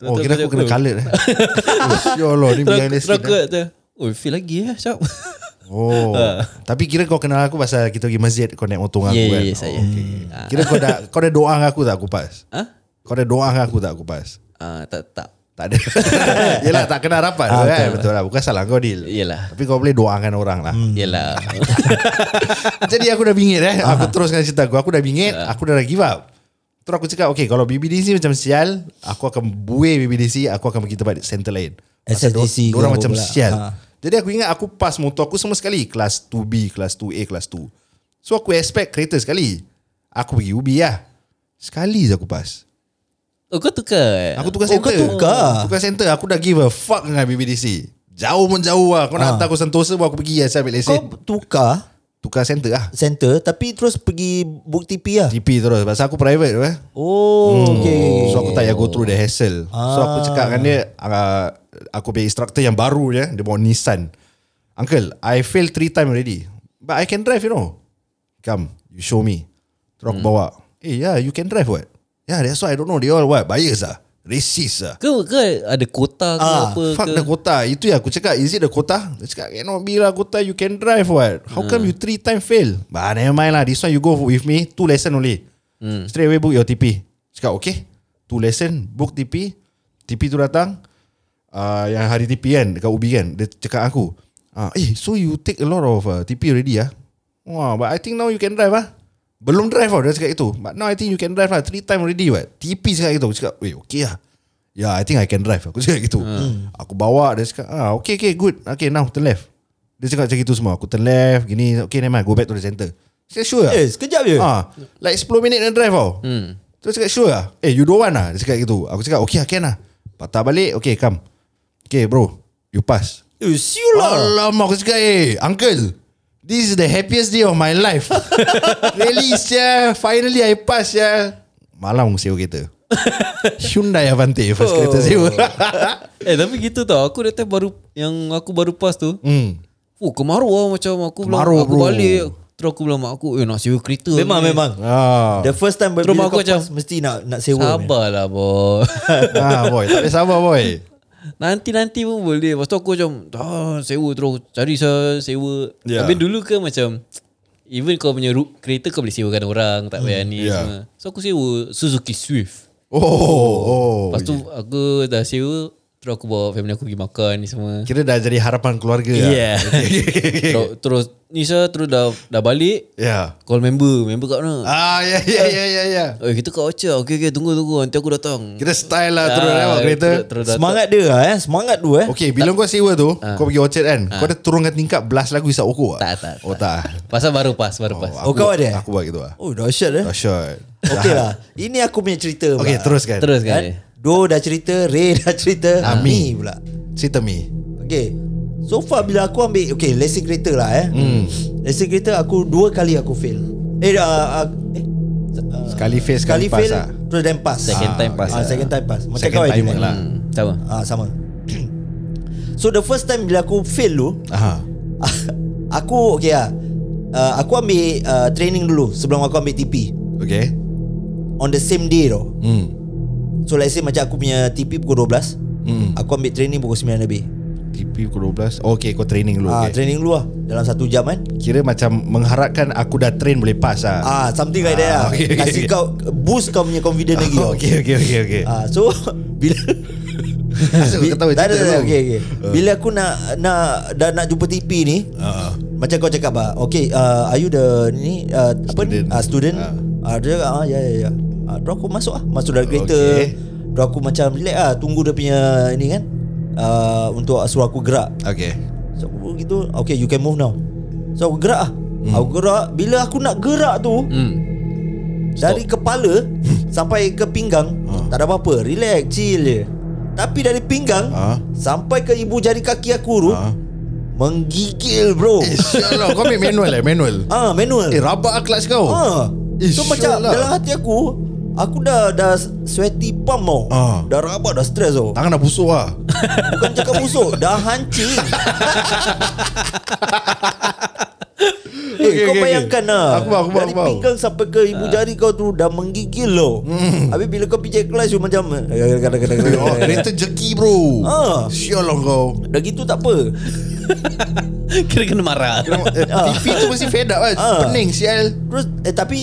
Speaker 4: Oh kira aku kena coloured eh Oh, Ya Allah ni behind the
Speaker 2: Terus
Speaker 4: scene
Speaker 2: aku
Speaker 4: eh.
Speaker 2: kata, Oh, fail lagi eh, Syap.
Speaker 4: Oh Tapi kira kau kenal aku Pasal kita pergi masjid Kau naik motor dengan
Speaker 2: Ya,
Speaker 4: aku
Speaker 2: ya,
Speaker 4: kan
Speaker 2: ya, saya.
Speaker 4: Oh, Kira kau dah Kau dah doa dengan aku tak aku pas
Speaker 2: Ah?
Speaker 4: Kau dah doa dengan aku tak aku pas
Speaker 2: Ah, tak tak.
Speaker 4: Tak ada Yelah tak kena rapat tu kan Betul lah Bukan salah kau deal
Speaker 2: Yelah.
Speaker 4: Tapi kau boleh doakan orang lah
Speaker 2: Yelah.
Speaker 4: Jadi aku dah bingit eh Aku
Speaker 3: Ah.
Speaker 4: teruskan cerita aku Aku dah bingit
Speaker 3: Ya.
Speaker 4: Aku dah dah give up Terus aku cakap Okay kalau BBDC macam sial Aku akan buai BBDC Aku akan pergi tempat center lain Pasal
Speaker 3: SSDC
Speaker 4: dor-
Speaker 3: ke
Speaker 4: dorang
Speaker 3: apa
Speaker 4: macam
Speaker 3: pula.
Speaker 4: sial
Speaker 3: Ha.
Speaker 4: Jadi aku ingat aku pass motor aku semua sekali Kelas 2B, kelas 2A, kelas 2 So aku expect kereta sekali Aku pergi UB lah Sekali je aku pass
Speaker 2: oh, kau tukar.
Speaker 4: Aku tukar
Speaker 3: Oh,
Speaker 4: center
Speaker 3: kau tukar.
Speaker 4: Tukar center Aku dah give a fuck dengan BBDC Jauh pun jauh lah Kau nak hantar aku sentosa pun aku pergi lah Saya
Speaker 3: Ah.
Speaker 4: ambil
Speaker 3: Kau
Speaker 4: lesen
Speaker 3: tukar
Speaker 4: Tukar center lah
Speaker 3: center tapi terus pergi book TP lah.
Speaker 4: GP terus Pasal aku private tu eh
Speaker 3: Oh, okay.
Speaker 4: So aku tak payah go through the hassle So aku cakap dengan dia uh, Aku punya instructor yang baru je Dia bawa Nissan Uncle I failed three time already But I can drive you know Come You show me Terus aku bawa Eh yeah you can drive what Yeah that's why I don't know They all what Bias lah Racist lah
Speaker 2: Ke, ke ada kota ke
Speaker 4: Ah,
Speaker 2: apa
Speaker 4: fuck
Speaker 2: ke
Speaker 4: the quota. Itu yang aku cakap. Is it the quota? Dia cakap, cannot be lah quota. You can drive what? How come
Speaker 2: Hmm.
Speaker 4: you three time fail? Bah, never mind lah. This one you go with me. Two lesson only.
Speaker 2: Hmm.
Speaker 4: Straight away book your TP. Cakap, okay. Two lesson, book TP. TP tu datang. Uh, yang hari TP kan, dekat Ubi kan. Dia cakap aku, ah, eh, so you take a lot of uh, TP already ah? Wah, but I think now you can drive ah. Belum drive tau Dia cakap itu But now I think you can drive lah Three time already what TP cakap gitu Aku cakap Weh okay lah Yeah I think I can drive Aku cakap gitu Aku bawa Dia cakap ah, Okay okay good Okay now turn left Dia cakap macam itu semua Aku turn left Gini Okay nevermind Go back to the centre Saya sure lah
Speaker 3: Eh, sekejap je.
Speaker 4: Ah, like 10 minit nak drive tau. Hmm. Terus cakap sure lah. Eh you don't want lah. Dia cakap gitu. Aku cakap okay lah can lah. Patah balik. Okay come. Okay bro. You pass.
Speaker 3: Eh, siul lah.
Speaker 4: Alamak aku cakap eh uncle. This is the happiest day of my life. really yeah. Finally I pass yeah. Malam aku sewa kereta. Hyundai Avante
Speaker 2: Oh.
Speaker 4: first kereta sewa.
Speaker 2: Eh tapi gitu tau Aku datang baru Yang aku baru pas tu
Speaker 4: hmm.
Speaker 2: Oh kemarau lah macam Aku bilang
Speaker 4: Kemarau,
Speaker 2: Aku
Speaker 4: bro.
Speaker 2: balik Terus aku bilang mak aku Eh nak sewa kereta
Speaker 3: Memang,
Speaker 2: ni.
Speaker 3: memang.
Speaker 4: Ah.
Speaker 3: The first time
Speaker 2: Terus
Speaker 3: bila
Speaker 2: mak
Speaker 3: kau
Speaker 2: aku macam,
Speaker 3: pas, mesti nak nak sewa. man.
Speaker 2: Sabarlah boy
Speaker 4: ah boy, tak boleh sabar boy.
Speaker 2: Nanti-nanti pun boleh Lepas tu aku macam ah, Sewa terus Cari saya sewa yeah.
Speaker 4: Ya.
Speaker 2: Habis dulu ke macam Even kau punya ru- kereta Kau boleh sewakan orang Tak payah ni
Speaker 4: ya.
Speaker 2: yeah. semua So aku sewa Suzuki Swift
Speaker 4: Oh, oh.
Speaker 2: Lepas tu aku dah sewa Terus aku bawa family aku pergi makan ni semua
Speaker 4: Kira dah jadi harapan keluarga lah.
Speaker 2: Yeah. terus, terus Ni saya terus dah, dah balik
Speaker 4: Yeah.
Speaker 2: Call member Member kat mana
Speaker 4: Ah, ya, ya, ya, ya, ya.
Speaker 2: Eh kita kat Ocha Okay okay tunggu tunggu Nanti aku datang Ah,
Speaker 4: Kira style lah
Speaker 3: Ah,
Speaker 4: turun lewat kereta.
Speaker 2: terus- terus datang.
Speaker 3: Semangat dia lah, eh. Semangat tu eh. Ah.
Speaker 4: Okay, bila kau sewa tu, kau pergi Orchard kan, kau ada turunkan tingkap belas lagu Isak Oko
Speaker 2: Tak,
Speaker 4: tak?
Speaker 2: tak,
Speaker 4: Oh, tak.
Speaker 2: Pasal baru pas Baru pas
Speaker 3: Oh,
Speaker 4: Aku-
Speaker 3: kau ada?
Speaker 4: Aku buat gitu lah.
Speaker 3: Oh, dahsyat eh.
Speaker 4: Dahsyat.
Speaker 3: Okey lah. Ini aku punya cerita.
Speaker 4: Okay,
Speaker 3: pula.
Speaker 4: teruskan.
Speaker 2: Terus kan
Speaker 3: Kan? Do dah cerita, Ray dah cerita,
Speaker 4: Ah,
Speaker 3: Ni
Speaker 4: me.
Speaker 3: pula.
Speaker 4: Cerita me.
Speaker 3: Okay. So far bila aku ambil Okay lesen kereta lah eh hmm. Lesen kereta aku Dua kali aku fail Eh, uh, uh, eh
Speaker 4: Sekali fail,
Speaker 3: Sekali
Speaker 4: sekali,
Speaker 3: fail
Speaker 4: pass lah.
Speaker 3: Terus then pass
Speaker 2: Second time pass
Speaker 3: ah,
Speaker 2: lah.
Speaker 3: Second time pass Macam
Speaker 4: Second
Speaker 3: kau
Speaker 4: time
Speaker 3: time
Speaker 4: lah.
Speaker 3: lah
Speaker 2: Hmm, Sama
Speaker 3: ah, Sama So the first time Bila aku fail tu
Speaker 4: Aha.
Speaker 3: Aku Okay lah uh, Aku ambil uh, Training dulu Sebelum aku ambil TP
Speaker 4: Okay.
Speaker 3: On the same day tau
Speaker 4: Hmm.
Speaker 3: So let's say macam aku punya TP pukul 12
Speaker 4: Hmm.
Speaker 3: Aku ambil training pukul 9 lebih
Speaker 4: TP pukul 12. Okay, kau training dulu.
Speaker 3: ah,
Speaker 4: okay.
Speaker 3: Training dulu lah Dalam satu jam kan
Speaker 4: Kira macam mengharapkan aku dah train boleh pass lah.
Speaker 3: Ah, something like that lah.
Speaker 4: Ah, okay, okay,
Speaker 3: Kasih
Speaker 4: okay.
Speaker 3: kau boost kau punya confidence lagi. tau.
Speaker 4: okay, okay, okay, okay.
Speaker 3: Ah, so bila
Speaker 4: Asal kau
Speaker 3: Bi-
Speaker 4: tak tahu
Speaker 3: tak ada, tak
Speaker 4: cerita
Speaker 3: ada,
Speaker 4: dulu?
Speaker 3: okay, okay. Bila aku nak nak dah nak jumpa TP ni,
Speaker 4: Ah.
Speaker 3: macam kau cakap ah, okay, uh, are you the ni uh, apa ni?
Speaker 4: Student.
Speaker 3: Ah, student. Ah,
Speaker 4: Ah.
Speaker 3: dia ah ya ya ya. Ah, terus aku masuk ah, masuk dalam kereta.
Speaker 4: Okay.
Speaker 3: Terus aku macam relax ah, tunggu dia punya ni kan. Uh, untuk suruh aku gerak.
Speaker 4: Okay.
Speaker 3: So aku pun gitu Okay you can move now So aku gerak lah hmm. Aku gerak Bila aku nak gerak tu
Speaker 2: Hmm.
Speaker 3: Dari kepala Sampai ke pinggang
Speaker 4: Ah.
Speaker 3: Tak ada apa-apa Relax chill je Tapi dari pinggang
Speaker 4: Ah.
Speaker 3: Sampai ke ibu jari kaki aku tu
Speaker 4: Ah.
Speaker 3: Menggigil bro
Speaker 4: Eh, syallah. Kau ambil manual eh, manual.
Speaker 3: Ah manual
Speaker 4: Eh, rabak lah kelas kau.
Speaker 3: ah.
Speaker 4: Eh,
Speaker 3: So macam
Speaker 4: syok lah.
Speaker 3: dalam hati aku Aku dah dah sweaty pump tau
Speaker 4: Ah.
Speaker 3: Dah rabak dah stress tau
Speaker 4: Tangan dah busuk lah.
Speaker 3: Bukan cakap busuk Dah hancing Eh,
Speaker 4: Okay,
Speaker 3: okay, kau
Speaker 4: okay, okay.
Speaker 3: okay, bayangkan lah
Speaker 4: Aku faham, aku
Speaker 3: Dari
Speaker 4: faham, aku faham. Ah.
Speaker 3: pinggang sampai ke ibu jari kau tu Dah menggigil loh mm. Habis bila kau pijak kelas You macam
Speaker 4: Hmm.
Speaker 3: eh,
Speaker 4: Oh, kereta jeki bro.
Speaker 3: Ah.
Speaker 4: Sial lah kau.
Speaker 3: Dah gitu tak apa
Speaker 2: Kira kena marah
Speaker 4: Eh, TV tu mesti fed up kan.
Speaker 3: Ah.
Speaker 4: Pening sial.
Speaker 3: Terus eh, Tapi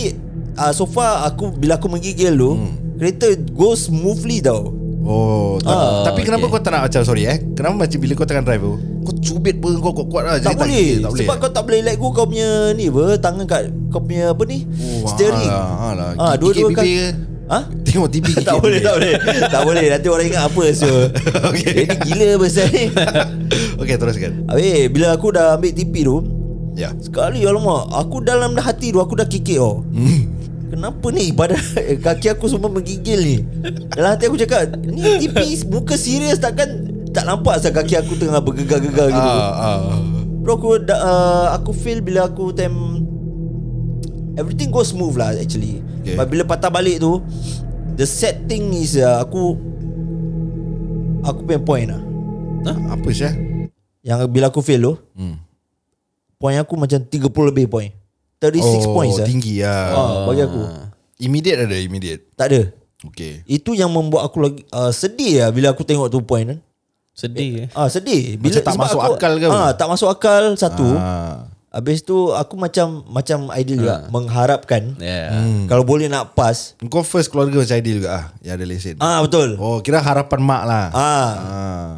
Speaker 3: uh, So far aku, Bila aku menggigil tu
Speaker 4: Hmm.
Speaker 3: Kereta go smoothly tau
Speaker 4: Oh, ta-
Speaker 3: Ah,
Speaker 4: tapi kenapa
Speaker 2: okay.
Speaker 4: kau tak nak macam sorry eh? Kenapa macam bila kau tengah drive tu, kau cubit pun kau kuat-kuat lah.
Speaker 3: tak
Speaker 4: Jadi
Speaker 3: boleh,
Speaker 4: tak boleh.
Speaker 3: Sebab kau tak boleh let go Kau punya ni apa Tangan kat Kau punya apa ni
Speaker 4: Oh,
Speaker 3: Steering
Speaker 4: alah, alah.
Speaker 3: Ah,
Speaker 4: Gigit
Speaker 3: Dua-dua
Speaker 4: bibir
Speaker 3: kaki
Speaker 4: ke?
Speaker 3: Ha?
Speaker 4: Tengok TV gigit
Speaker 3: tak boleh,
Speaker 4: bibir.
Speaker 3: tak boleh. tak boleh. Nanti orang ingat apa so.
Speaker 4: Okay.
Speaker 3: Dia ni gila pasal ni.
Speaker 4: Okay, teruskan.
Speaker 3: Habis bila aku dah ambil TP tu,
Speaker 4: Ya.
Speaker 3: sekali alamak, aku dalam dah hati tu aku dah kikik oh.
Speaker 4: Hmm.
Speaker 3: Kenapa ni badan eh, kaki aku semua menggigil ni? Dalam hati aku cakap, ni TP muka serius takkan tak nampak asal kaki aku tengah bergegar-gegar gitu.
Speaker 4: Ah, ah.
Speaker 3: Bro aku da, uh, aku feel bila aku time everything go smooth lah actually.
Speaker 4: Okay.
Speaker 3: Okay. But bila patah balik tu the sad thing is uh, aku aku punya point lah.
Speaker 4: Apa sial?
Speaker 3: Yang bila aku fail tu hmm. point aku macam 30 lebih point. 36 points lah.
Speaker 4: Tinggi lah
Speaker 3: Ah, bagi aku.
Speaker 4: Immediate ada immediate
Speaker 3: Tak ada.
Speaker 4: Okay
Speaker 3: Itu yang membuat aku lagi uh, sedih lah bila aku tengok tu point kan.
Speaker 2: Sedih eh.
Speaker 3: Ah sedih bila
Speaker 4: Macam tak
Speaker 3: sebab
Speaker 4: masuk
Speaker 3: aku,
Speaker 4: akal ke apa?
Speaker 3: Ah tak masuk akal satu.
Speaker 4: ah.
Speaker 3: Habis tu aku macam macam ideal juga mengharapkan
Speaker 2: Yeah.
Speaker 3: hmm. kalau boleh nak pass.
Speaker 4: Ah. Kau first keluarga macam ideal juga ah, Yang ada lesen
Speaker 3: Ah betul.
Speaker 4: Oh kira harapan mak lah
Speaker 3: Ah
Speaker 4: ah.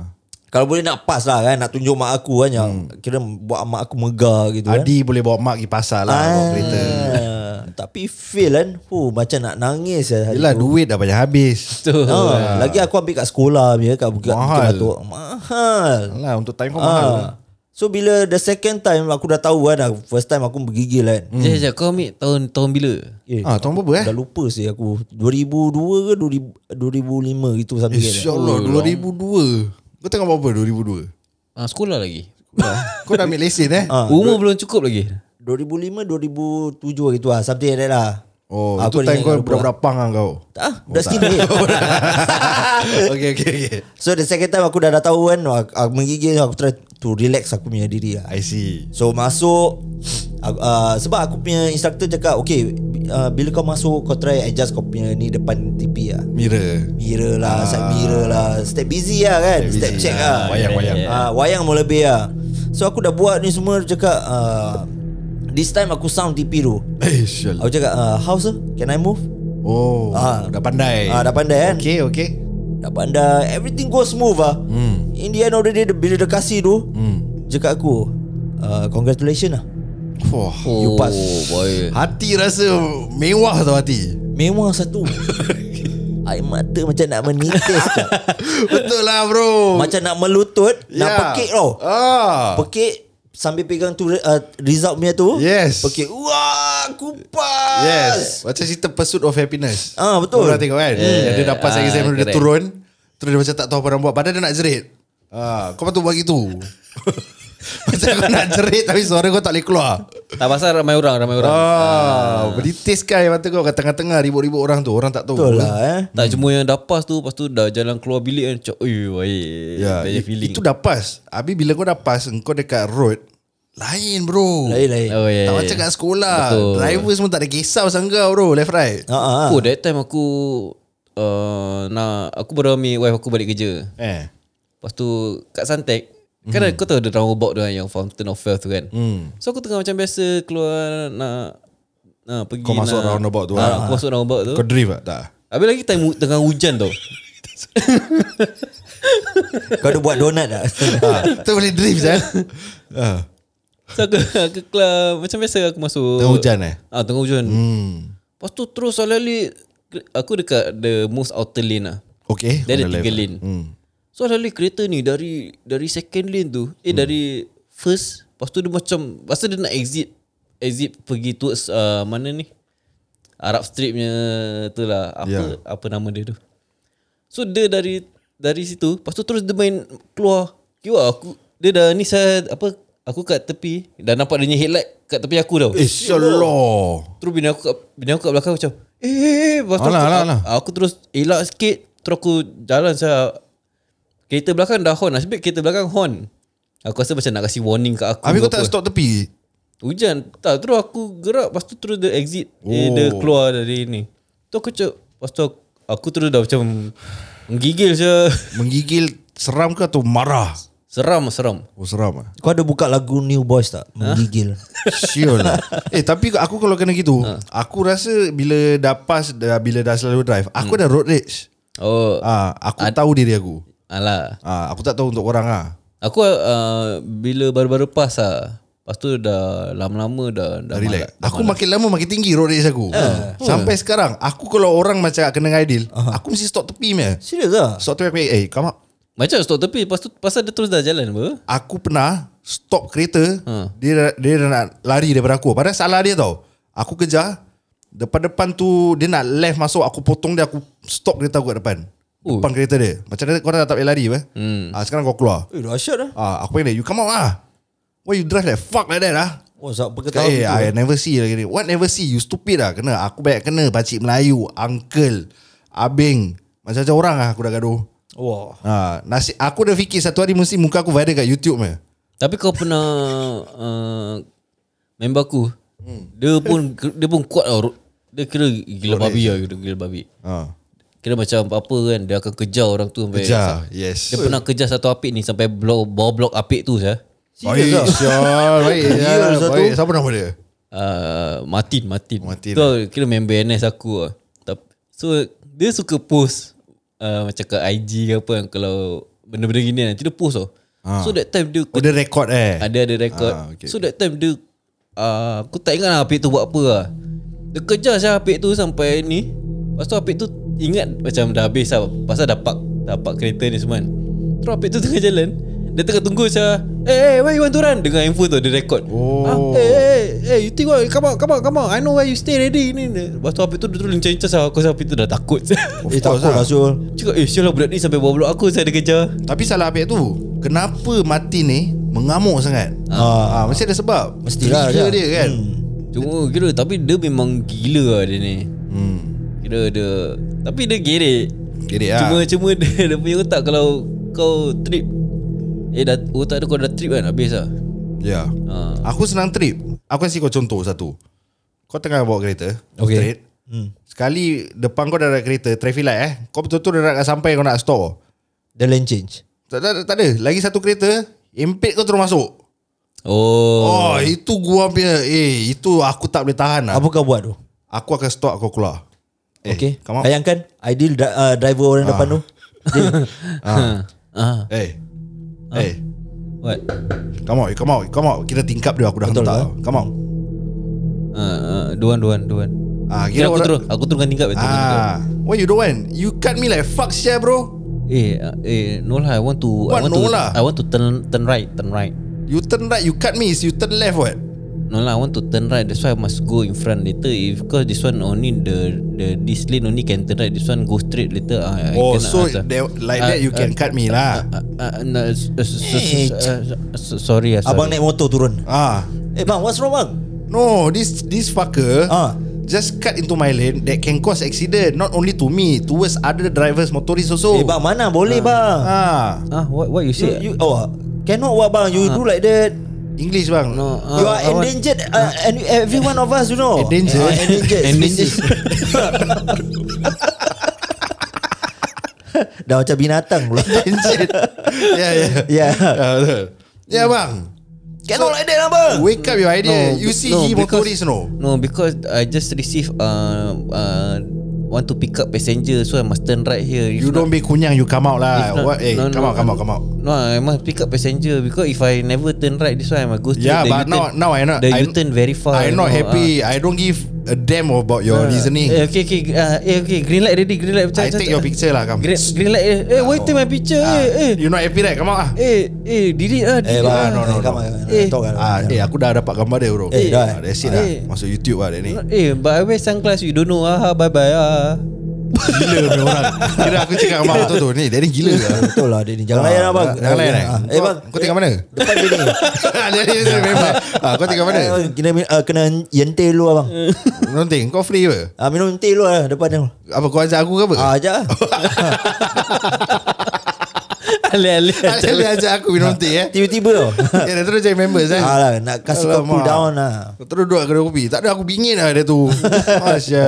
Speaker 3: kalau boleh nak pass lah kan nak tunjuk mak aku kan yang kira buat mak aku megah gitu kan.
Speaker 4: Hmm. Adi boleh bawa mak pergi pasar lah Bawa kereta
Speaker 3: Ah, tapi fail kan. Huh, macam nak nangis lah hari
Speaker 4: Yelah
Speaker 3: tu.
Speaker 4: duit dah banyak habis
Speaker 2: Betul.
Speaker 3: Ah, lagi aku ambil kat sekolah punya kat Bukit Bukit
Speaker 4: Mahal.
Speaker 3: Batok. Mahal.
Speaker 4: Alah untuk time kau mahal lah.
Speaker 3: Ah. So bila the second time aku dah tahu kan first time aku bergigil kan.
Speaker 2: Sekejap, sekejap. Kau ambil tahun tahun bila?
Speaker 3: Eh,
Speaker 4: Hmm. Ah, tahun berapa eh?
Speaker 3: Dah lupa sih aku 2002 ke 2000, 2005 gitu something like that.
Speaker 4: InsyaAllah 2002 Kau tengok berapa 2002
Speaker 2: Ah, sekolah lagi.
Speaker 4: Kau dah ambil lesen eh
Speaker 3: Ah,
Speaker 2: Umur belum cukup lagi.
Speaker 3: 2005 2007 gitu lah something like that lah.
Speaker 4: Oh
Speaker 3: Aku dah
Speaker 4: Aku itu time
Speaker 3: ingat
Speaker 4: kau
Speaker 3: dah lupa.
Speaker 4: berapa pang lah kau
Speaker 3: Ah, dah skinny.
Speaker 4: Okay okay okay
Speaker 3: so the second time aku dah dah tahu kan aku, aku menggigil aku try to relax aku punya diri lah.
Speaker 4: I see
Speaker 3: So masuk aku, uh, sebab aku punya instructor cakap okay uh, bila kau masuk kau try adjust kau punya ni depan TV lah.
Speaker 4: Mirror
Speaker 3: Mirror lah, side mirror lah. Step busy lah kan. Step,
Speaker 4: Step Ah. busy.
Speaker 3: check
Speaker 4: Ah,
Speaker 3: lah.
Speaker 4: wayang-wayang.
Speaker 3: Ah, wayang mau lebih lah. So aku dah buat ni semua dia cakap ah, this time aku sound TP tu.
Speaker 4: Eh syal
Speaker 3: Aku cakap ah, how sir? Can I move?
Speaker 4: Oh
Speaker 3: Ah.
Speaker 4: Dah pandai
Speaker 3: Ah, dah pandai kan?
Speaker 4: Okay okay
Speaker 3: Dah pandai. Everything go smooth lah. Hmm. In the end of the day bila dia kasih tu, hmm. cakap aku ah, congratulations lah.
Speaker 4: Wah
Speaker 2: Oh,
Speaker 3: pass.
Speaker 2: boy.
Speaker 4: Hati rasa mewah tau hati
Speaker 3: Memang satu. Air mata macam nak menitis tau.
Speaker 4: Betul lah bro
Speaker 3: Macam nak melutut, nak
Speaker 4: Yeah.
Speaker 3: pekik tau.
Speaker 4: Ya. ah.
Speaker 3: Pekik sambil pegang tu uh, result punya tu.
Speaker 4: Yes.
Speaker 3: Pekik. Wah, kupas.
Speaker 4: Yes Macam cerita Pursuit of Happiness
Speaker 3: Ah, betul.
Speaker 4: Orang tengok kan yeah. Dia dapat
Speaker 2: Ah,
Speaker 4: ah, exam Dia
Speaker 2: correct.
Speaker 4: turun Terus dia macam tak tahu apa nak buat Padahal dia nak jerit ah, Kau patut buat gitu Macam kau nak jerit Tapi suara kau tak boleh keluar
Speaker 2: Tak pasal ramai orang, ramai orang.
Speaker 4: ah, Beritiskan air mata kau Kat tengah-tengah Ribut-ribut orang tu Orang tak tahu
Speaker 3: Betul lah eh.
Speaker 2: Tak cuma yang dah pass tu Lepas tu dah jalan keluar bilik kan Macam Ui wai
Speaker 4: Ya,
Speaker 2: Banyak
Speaker 4: i-
Speaker 2: feeling
Speaker 4: Itu dah pas Habis bila kau dah pas Kau dekat road Lain bro
Speaker 3: Lain-lain.
Speaker 2: Oh
Speaker 4: eh.
Speaker 2: yeah,
Speaker 4: Tak macam kat sekolah
Speaker 2: Betul.
Speaker 4: Driver semua tak ada kisah pasal kau bro Left right
Speaker 3: Ha ah.
Speaker 2: Aku that time aku uh, Nah Aku baru ambil wife aku balik kerja
Speaker 4: Eh
Speaker 2: Lepas tu Kat Suntec Kan
Speaker 4: Hmm.
Speaker 2: mm. kau tahu ada roundabout tu kan Yang Fountain of Wealth tu kan mm. So aku tengah macam biasa Keluar nak Nah, pergi
Speaker 4: Kau masuk
Speaker 2: nak,
Speaker 4: roundabout tu, ah.
Speaker 2: ah, Aku masuk roundabout tu
Speaker 4: Kau drift tak? tak?
Speaker 2: Habis lagi time hu- tengah hujan tau
Speaker 3: Kau ada buat donat tak?
Speaker 4: Ah, tu boleh drift kan? ah.
Speaker 2: So aku, aku keluar Macam biasa aku masuk
Speaker 4: Tengah hujan eh?
Speaker 2: Ah, Tengah hujan
Speaker 4: Hmm.
Speaker 2: Lepas tu terus alali Aku dekat the most outer lane lah
Speaker 4: Okay.
Speaker 2: Dia ada
Speaker 4: on the
Speaker 2: tiga
Speaker 4: left.
Speaker 2: lane.
Speaker 4: Hmm.
Speaker 2: So alali kereta ni dari dari second lane tu Eh
Speaker 4: Hmm.
Speaker 2: dari first Lepas tu dia macam Lepas tu dia nak exit Exit pergi towards uh, mana ni Arab Street punya tu lah Apa
Speaker 4: Ya.
Speaker 2: yeah. apa nama dia tu So dia dari dari situ Lepas tu terus dia main keluar Kira aku Dia dah ni saya apa Aku kat tepi Dah nampak dia punya headlight Kat tepi aku tau
Speaker 4: Eh, syalah.
Speaker 2: Terus bini aku kat, bini aku kat belakang macam Eh eh eh Lepas tu
Speaker 4: Alah,
Speaker 2: aku,
Speaker 4: alah, alah.
Speaker 2: aku terus elak sikit Terus aku jalan saya Kereta belakang dah horn Nasib baik kereta belakang horn Aku rasa macam nak kasi warning kat aku
Speaker 4: Habis
Speaker 2: ke
Speaker 4: kau tak
Speaker 2: apa.
Speaker 4: stop tepi?
Speaker 2: Hujan Tak terus aku gerak Lepas tu terus dia exit oh. eh,
Speaker 4: Oh.
Speaker 2: Dia keluar dari ni Tu aku cakap Lepas tu aku, aku terus dah macam Menggigil je
Speaker 4: Menggigil seram ke atau marah?
Speaker 2: Seram seram
Speaker 4: Oh, seram ah.
Speaker 3: Kau ada buka lagu New Boys tak? Menggigil.
Speaker 4: Sure lah. Eh, tapi aku kalau kena gitu,
Speaker 2: Ah.
Speaker 4: aku rasa bila dah pas, dah, bila dah selalu drive, aku dah road rage.
Speaker 2: Hmm. Oh
Speaker 4: Ah, aku tahu diri aku.
Speaker 2: Alah
Speaker 4: Ah, aku tak tahu untuk orang ah.
Speaker 2: Aku uh, bila baru-baru pas lah Lepas tu dah lama-lama dah, dah
Speaker 4: Dah relax.
Speaker 2: malas.
Speaker 4: Aku makin lama makin tinggi road rage aku. Hmm. Sampai sekarang, aku kalau orang macam kena dengan Aidil, aku mesti stop tepi meh.
Speaker 3: Serius lah.
Speaker 4: Stop tepi aku, eh, come up.
Speaker 2: Macam stop tepi Lepas tu pasal dia terus dah jalan apa
Speaker 4: Aku pernah stop kereta, dia dia dah nak lari daripada aku. Padahal salah dia tau. Aku kejar, depan-depan tu dia nak left masuk, aku potong dia, aku stop kereta aku kat depan.
Speaker 2: Oh.
Speaker 4: Depan kereta dia. Macam dia kau dah tak boleh lari apa? Hmm. Ah, sekarang kau keluar.
Speaker 3: Eh, dahsyat lah.
Speaker 4: Ah, aku panggil dia, you come out ah. Why you drive like fuck like that ah?
Speaker 3: Wah, sebab
Speaker 4: Kau
Speaker 3: perketahuan
Speaker 4: eh,
Speaker 3: gitu.
Speaker 4: I never see lagi ni. What never see? You stupid lah. Kena. Aku banyak kena. Pakcik Melayu, uncle, abeng. Macam-macam orang lah aku dah gaduh.
Speaker 3: Wah.
Speaker 4: Ha, nasi, aku dah fikir satu hari mesti muka aku viral kat YouTube meh.
Speaker 2: Tapi kau pernah uh, Member aku
Speaker 4: Hmm.
Speaker 2: Dia pun dia pun kuat tau. Dia kira gila babi lah, kira gila babi.
Speaker 4: Ha.
Speaker 2: Kira macam apa kan dia akan kejar orang tu sampai
Speaker 4: Kejar, yes.
Speaker 2: Eh, Dia pernah kejar satu apik ni sampai blok bawah blok apik tu saya.
Speaker 4: Baik, Syar. Baik, Syar.
Speaker 3: satu.
Speaker 4: Baik. Siapa nama dia?
Speaker 2: Uh, Martin, Martin.
Speaker 4: Martin, eh.
Speaker 2: tu kira member NS aku lah. Tap- So dia suka post uh, macam ke IG ke apa kan, kalau benda-benda gini nanti dia post tau. So that time dia
Speaker 4: Oh, dia rekod eh?
Speaker 2: Ada ada record.
Speaker 4: Ah,
Speaker 2: Ah,
Speaker 4: okay,
Speaker 2: okay, so that time dia uh, aku tak ingat lah Apik tu buat apa lah. Dia kejar saya Apik tu sampai ni. Lepas tu Apik tu ingat macam dah habis lah. Pasal dah park, dah park kereta ni semua kan. Terus Apik tu tengah jalan. Dia tengah tunggu saya. Eh, hey, where you want to run? Dengan handphone tu dia record.
Speaker 4: Oh.
Speaker 2: Ah, eh, eh, eh, you think what? Come on, come on, come on. I know where you stay ready. Ni, ni. Lepas tu Apik tu dia terus lincah-lincah saya. Aku rasa Apik tu dah takut.
Speaker 4: Of
Speaker 3: Eh tak
Speaker 4: course
Speaker 3: apa
Speaker 4: lah.
Speaker 3: lah Syul
Speaker 2: Cakap, eh, sial lah budak ni sampai bawa blok aku saya dia kejar.
Speaker 4: Tapi salah Apek tu Kenapa Martin ni Mengamuk sangat ah. ah Mesti ada sebab
Speaker 3: Mestilah dia.
Speaker 4: Trigger dia kan
Speaker 2: Cuma kira tapi dia memang gila lah dia ni.
Speaker 4: hmm.
Speaker 2: Kira dia Tapi dia gerek
Speaker 4: Gerik
Speaker 2: Cuma
Speaker 4: lah
Speaker 2: cuma dia, dia punya otak Kalau kau trip Eh dah, otak dia kau dah trip kan Habis lah
Speaker 4: Ya
Speaker 2: Ah.
Speaker 4: Aku senang trip Aku kasi kau contoh satu Kau tengah bawa kereta
Speaker 2: Okay.
Speaker 4: Straight hmm. Sekali Depan kau dah ada kereta Traffic light eh Kau betul-betul dah nak sampai Kau nak stop
Speaker 3: The lane change
Speaker 4: tak, tak, tak ada Lagi satu kereta Impit kau terus masuk
Speaker 2: Oh, oh.
Speaker 4: Oh, itu gua punya Eh itu aku tak boleh tahan lah
Speaker 3: Apa kau buat tu
Speaker 4: Aku akan stop kau keluar eh,
Speaker 3: Okay
Speaker 4: come out.
Speaker 3: Bayangkan Ideal dri- uh, driver orang depan tu
Speaker 4: ah.
Speaker 2: Ah,
Speaker 4: Eh Eh
Speaker 2: What
Speaker 4: Come out, come out, come out. Kira tingkap dia aku dah
Speaker 3: Betul
Speaker 4: Betul hentak.
Speaker 3: lah.
Speaker 4: Lah. Come out.
Speaker 2: ah, ah, Duan duan duan
Speaker 4: Ah,
Speaker 2: Kira
Speaker 4: kira
Speaker 2: aku
Speaker 4: orang
Speaker 2: turun Aku turunkan tingkap, aku turunkan tingkap.
Speaker 4: Ah, what you don't want? You cut me like fuck sia bro.
Speaker 2: Eh ah, eh No lah I want to
Speaker 4: What
Speaker 2: I want
Speaker 4: no
Speaker 2: to,
Speaker 4: lah?
Speaker 2: I want to turn turn right Turn right
Speaker 4: You turn right, you cut me is you turn left what?
Speaker 2: No lah I want to turn right That's why I must go in front later If cause this one only the the This lane only can turn right This one go straight later ah, I
Speaker 4: oh,
Speaker 2: cannot
Speaker 4: so
Speaker 2: answer. Uh,
Speaker 4: there, like that you can cut me lah.
Speaker 2: Ah, ah, ah, no, s- s- s- s- ah, s- Sorry lah sorry.
Speaker 3: Abang naik motor turun
Speaker 2: uh.
Speaker 4: Ah.
Speaker 3: Eh bang what's wrong bang
Speaker 4: No, this this fucker
Speaker 3: Ah.
Speaker 4: just cut into my lane that can cause accident not only to me, towards other drivers motorists also.
Speaker 3: Eh bang mana boleh bang
Speaker 4: Ah.
Speaker 2: Ah, what what
Speaker 3: You,
Speaker 2: you say?
Speaker 3: you oh, Cannot what bang You do like that
Speaker 4: English bang.
Speaker 2: no,
Speaker 3: You are
Speaker 2: Ah. I want-
Speaker 3: endangered uh, and Every one of us you know
Speaker 4: Endangered.
Speaker 3: Ah, Endangered
Speaker 2: Endangered.
Speaker 3: Dah macam binatang pula
Speaker 4: English. yeah, yeah.
Speaker 3: Yeah.
Speaker 4: Ah, betul. yeah, bang.
Speaker 3: Cannot like that lah bang
Speaker 4: Wake up your idea.
Speaker 2: No,
Speaker 4: you
Speaker 2: be-
Speaker 4: see
Speaker 2: no,
Speaker 4: he
Speaker 2: because-
Speaker 4: motorist no.
Speaker 2: No, because I just receive uh, uh, want to pick up passenger, so I must turn right here. If
Speaker 4: You
Speaker 2: not-
Speaker 4: don't be kunyang You come out lah
Speaker 2: if not-
Speaker 4: What eh
Speaker 2: no,
Speaker 4: come
Speaker 2: no,
Speaker 4: out come out come out
Speaker 2: No, I must pick up passenger because if I never turn right, this one I must go straight.
Speaker 4: Yeah
Speaker 2: The
Speaker 4: but
Speaker 2: U-turn-
Speaker 4: now Now I not
Speaker 2: The
Speaker 4: I-
Speaker 2: U-turn very far.
Speaker 4: I
Speaker 2: you know,
Speaker 4: not happy I don't give A damn about
Speaker 2: ah.
Speaker 4: your reasoning
Speaker 2: uh, Eh, okay, okay, uh, eh, okay. Green light ready, green light.
Speaker 4: I take your picture lah Come
Speaker 2: Green, green light. Eh, eh why take my picture?
Speaker 4: Ah,
Speaker 2: Eh, eh,
Speaker 4: You not happy right Come out lah
Speaker 2: eh, eh, delete ah,
Speaker 3: Eh bang
Speaker 2: delete ah.
Speaker 4: no, no, no.
Speaker 3: Come on,
Speaker 2: Eh.
Speaker 3: talk lah.
Speaker 4: Ah, eh aku dah dapat gambar dia bro.
Speaker 3: Eh, dah.
Speaker 4: Ah, that's it lah.
Speaker 2: Eh.
Speaker 4: Masuk YouTube lah dia ni.
Speaker 2: Eh, but I wear sunglass, you don't know ah. Bye bye ah.
Speaker 4: Gila punya orang. Kira aku cakap sama tu tu. Ni dia ni gila. lah.
Speaker 3: Betul lah dia ni Jangan layan lah bang
Speaker 4: Jangan layan eh.
Speaker 3: Ah, Eh
Speaker 4: Kau-
Speaker 3: bang
Speaker 4: Kau tinggal mana?
Speaker 3: Depan dia ni
Speaker 4: Dia ni dia memang. Ah, Kau tinggal mana?
Speaker 3: Ah, Kena, ah, kena yentil lu abang
Speaker 4: Nonting kau free ke?
Speaker 3: Ah, minum teh lu lah depan dia.
Speaker 4: Apa kau ajak aku ke apa?
Speaker 3: Ah, ajak lah.
Speaker 2: Alih-alih
Speaker 4: Asal dia ajak aku minum teh eh.
Speaker 3: Tiba-tiber tau.
Speaker 4: Eh dah terus jadi members kan.
Speaker 3: ah, lah, nak kasi kau
Speaker 4: Alamak.
Speaker 3: cool down lah.
Speaker 4: Terus duduk kedai kopi. Tak ada aku bingit lah dia tu. Masya.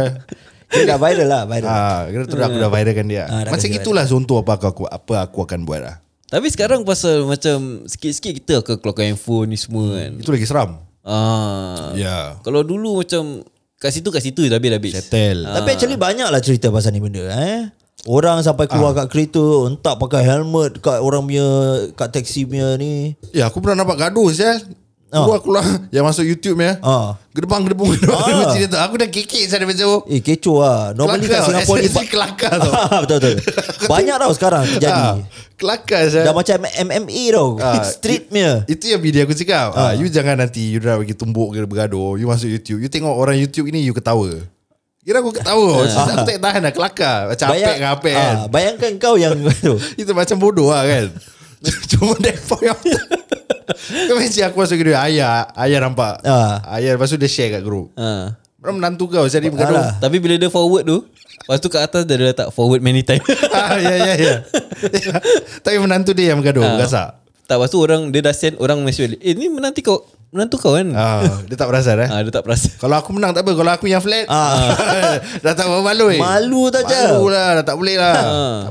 Speaker 3: Dia dah viral lah, viral.
Speaker 4: Ah, kira terus aku dah viralkan dia.
Speaker 3: Ah, dah
Speaker 4: Macam
Speaker 3: kasi
Speaker 4: itulah contoh apa aku, aku apa aku akan buat lah.
Speaker 2: Tapi sekarang pasal macam Sikit-sikit kita akan keluarkan handphone ni semua kan
Speaker 4: Itu lagi seram.
Speaker 3: Ha.
Speaker 2: ah,
Speaker 4: Ya.
Speaker 2: Kalau dulu macam Kat situ kat situ dah habis-habis
Speaker 4: Settle.
Speaker 3: Tapi actually banyak lah cerita pasal ni benda eh. Orang sampai keluar
Speaker 4: Ah.
Speaker 3: kat kereta Entah pakai helmet Kat orang punya Kat taksi punya ni
Speaker 4: Ya, aku pernah nampak gaduh ya.
Speaker 3: Ah.
Speaker 4: Aku keluar yang masuk YouTube ya.
Speaker 3: Ah.
Speaker 4: Gedebang gedebung gedebang
Speaker 3: Ah.
Speaker 4: gedebang cerita. Aku dah kekek saya macam oh.
Speaker 3: Eh kecoh lah Normally kat
Speaker 4: Kelakar tau.
Speaker 3: Singapura ni
Speaker 4: SSC kelakar tau.
Speaker 3: Ah, Betul-betul Banyak tau sekarang
Speaker 4: Ah,
Speaker 3: terjadi
Speaker 4: Kelakar saya.
Speaker 3: Dah macam MMA tau
Speaker 4: Ah,
Speaker 3: Street punya
Speaker 4: Itu yang video aku cakap. Ah, you jangan nanti you dah bagi tumbuk ke bergaduh. You masuk YouTube. You tengok orang YouTube ni you ketawa. Kira aku ketawa. Sebab aku tak tahan dah kelakar. Macam apek dengan apek kan.
Speaker 3: ah, Bayangkan kau yang tu.
Speaker 4: Itu macam bodoh lah kan. Cuma that point of time. Kau mesti aku masuk grup Ayah Ayah nampak
Speaker 3: Ah.
Speaker 4: Ayah lepas tu dia share kat grup
Speaker 2: ah.
Speaker 4: Orang menantu kau Jadi bergaduh
Speaker 2: Tapi bila dia forward tu Lepas tu kat atas dia dah letak forward many time
Speaker 4: Ah, Ya ya ya Tapi menantu dia yang bergaduh Gasak
Speaker 3: Ah.
Speaker 2: Tak lepas tu orang Dia dah send orang message balik, Eh ni menanti kau menantu kau kan? Ah,
Speaker 4: Ah, dia tak perasan eh.
Speaker 2: dia tak perasan.
Speaker 4: Kalau aku menang tak apa Kalau aku yang flat
Speaker 3: Ah.
Speaker 4: Dah tak malu eh.
Speaker 3: Malu tak, Ah. Jal?
Speaker 4: Malu lah Dah tak boleh lah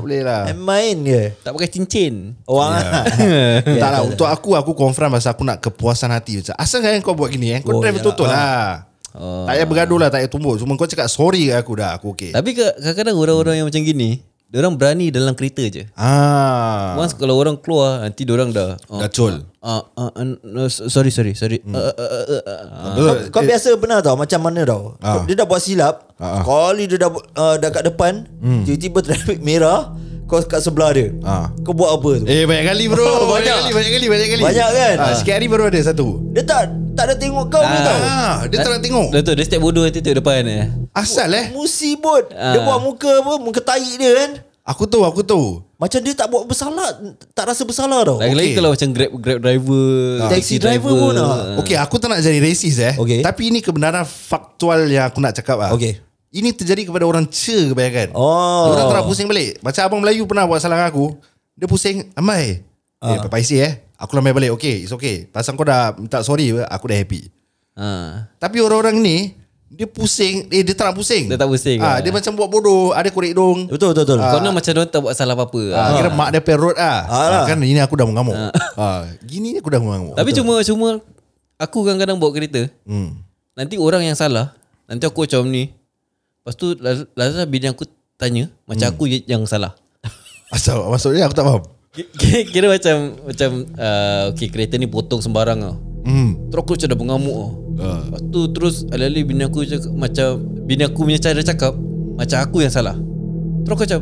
Speaker 4: Tak boleh lah
Speaker 3: Main Eh, main je
Speaker 2: Tak pakai cincin.
Speaker 4: Ya.
Speaker 3: Orang yeah.
Speaker 4: tak lah Untuk aku Aku confront pasal Aku nak kepuasan hati macam Asal kan kau buat gini eh Kau
Speaker 2: Oh, ya.
Speaker 4: drive betul-betul lah
Speaker 3: Ah.
Speaker 4: Tak payah bergaduh lah Tak payah tumbuk Cuma kau cakap sorry kat aku dah Aku okay
Speaker 2: Tapi ke- kadang-kadang orang-orang yang macam gini, orang berani dalam kereta je.
Speaker 4: Ah,
Speaker 2: Once kalau orang keluar, nanti orang dah oh,
Speaker 4: Dah col
Speaker 2: Ah, ah, ah, no, sorry sorry sorry. Hmm. Uh, uh, uh, uh.
Speaker 3: Kau,
Speaker 4: Betul
Speaker 3: Ah.
Speaker 4: Eh.
Speaker 3: kau biasa pernah tau Macam mana tau
Speaker 4: Ah.
Speaker 3: Dia dah buat silap
Speaker 4: Ah, ah.
Speaker 3: Kali dia dah uh, Dah kat depan Tiba-tiba traffic merah Kau kat sebelah dia
Speaker 4: Ah.
Speaker 3: Kau buat apa tu
Speaker 4: Eh banyak kali bro
Speaker 3: Banyak.
Speaker 4: Banyak kali Banyak kali Banyak kali
Speaker 3: Banyak kan?
Speaker 4: ah, Sikit hari baru ada satu
Speaker 3: Dia tak Tak ada tengok kau ah. tau
Speaker 4: Ah, Dia tak nak tengok
Speaker 2: Dah tu dia step bodoh nanti tu depan eh.
Speaker 4: Asal eh
Speaker 3: Musibot Dia
Speaker 2: Ah.
Speaker 3: buat muka apa Muka tahi dia kan
Speaker 4: Aku tahu Aku tahu
Speaker 3: Macam dia tak buat bersalah Tak rasa bersalah tau
Speaker 2: Lagi-lagi
Speaker 4: Oh, Okay.
Speaker 2: kalau macam grab grab driver,
Speaker 3: Taxi driver pun ah.
Speaker 4: Okay aku tak nak jadi racist eh
Speaker 3: Okay.
Speaker 4: Tapi ini kebenaran faktual yang aku nak cakap lah
Speaker 3: Okay.
Speaker 4: Ini terjadi kepada orang ce kebanyakan
Speaker 3: Oh.
Speaker 4: Orang terang pusing balik Macam abang Melayu pernah buat salah dengan aku Dia pusing Amai Eh
Speaker 2: Ah.
Speaker 4: papai isi eh Aku lambai balik Okay it's okay Pasal kau dah minta sorry apa, Aku dah happy
Speaker 2: Ha.
Speaker 4: Tapi orang-orang ni Dia pusing Eh dia tak nak pusing
Speaker 2: Dia tak pusing,
Speaker 4: ah,
Speaker 2: ah.
Speaker 4: Dia macam buat bodoh Ada korek dong
Speaker 3: Betul betul betul
Speaker 2: Kau nak macam dia tak buat salah apa-apa.
Speaker 4: ah,
Speaker 2: Ah.
Speaker 4: Kira mak dia perut ah.
Speaker 3: Ah, lah.
Speaker 4: ah Kan ini aku dah mengamuk ah. Gini ni aku dah mengamuk
Speaker 2: Tapi cuma cuma aku kadang-kadang bawa kereta. Hmm. Nanti orang yang salah, nanti aku macam ni. Lepas tu laz- Lazada bini aku tanya, macam
Speaker 4: Hmm.
Speaker 2: aku je yang salah.
Speaker 4: Asal maksudnya aku tak faham
Speaker 2: Ki- Kira, kira macam macam uh, okay, kereta ni potong sembarang tau.
Speaker 4: Hmm
Speaker 2: Terus aku macam dah mengamuk tau. Uh. Lepas tu terus alih-alih bini aku cakap, macam bini aku punya cara cakap macam aku yang salah. Terus aku macam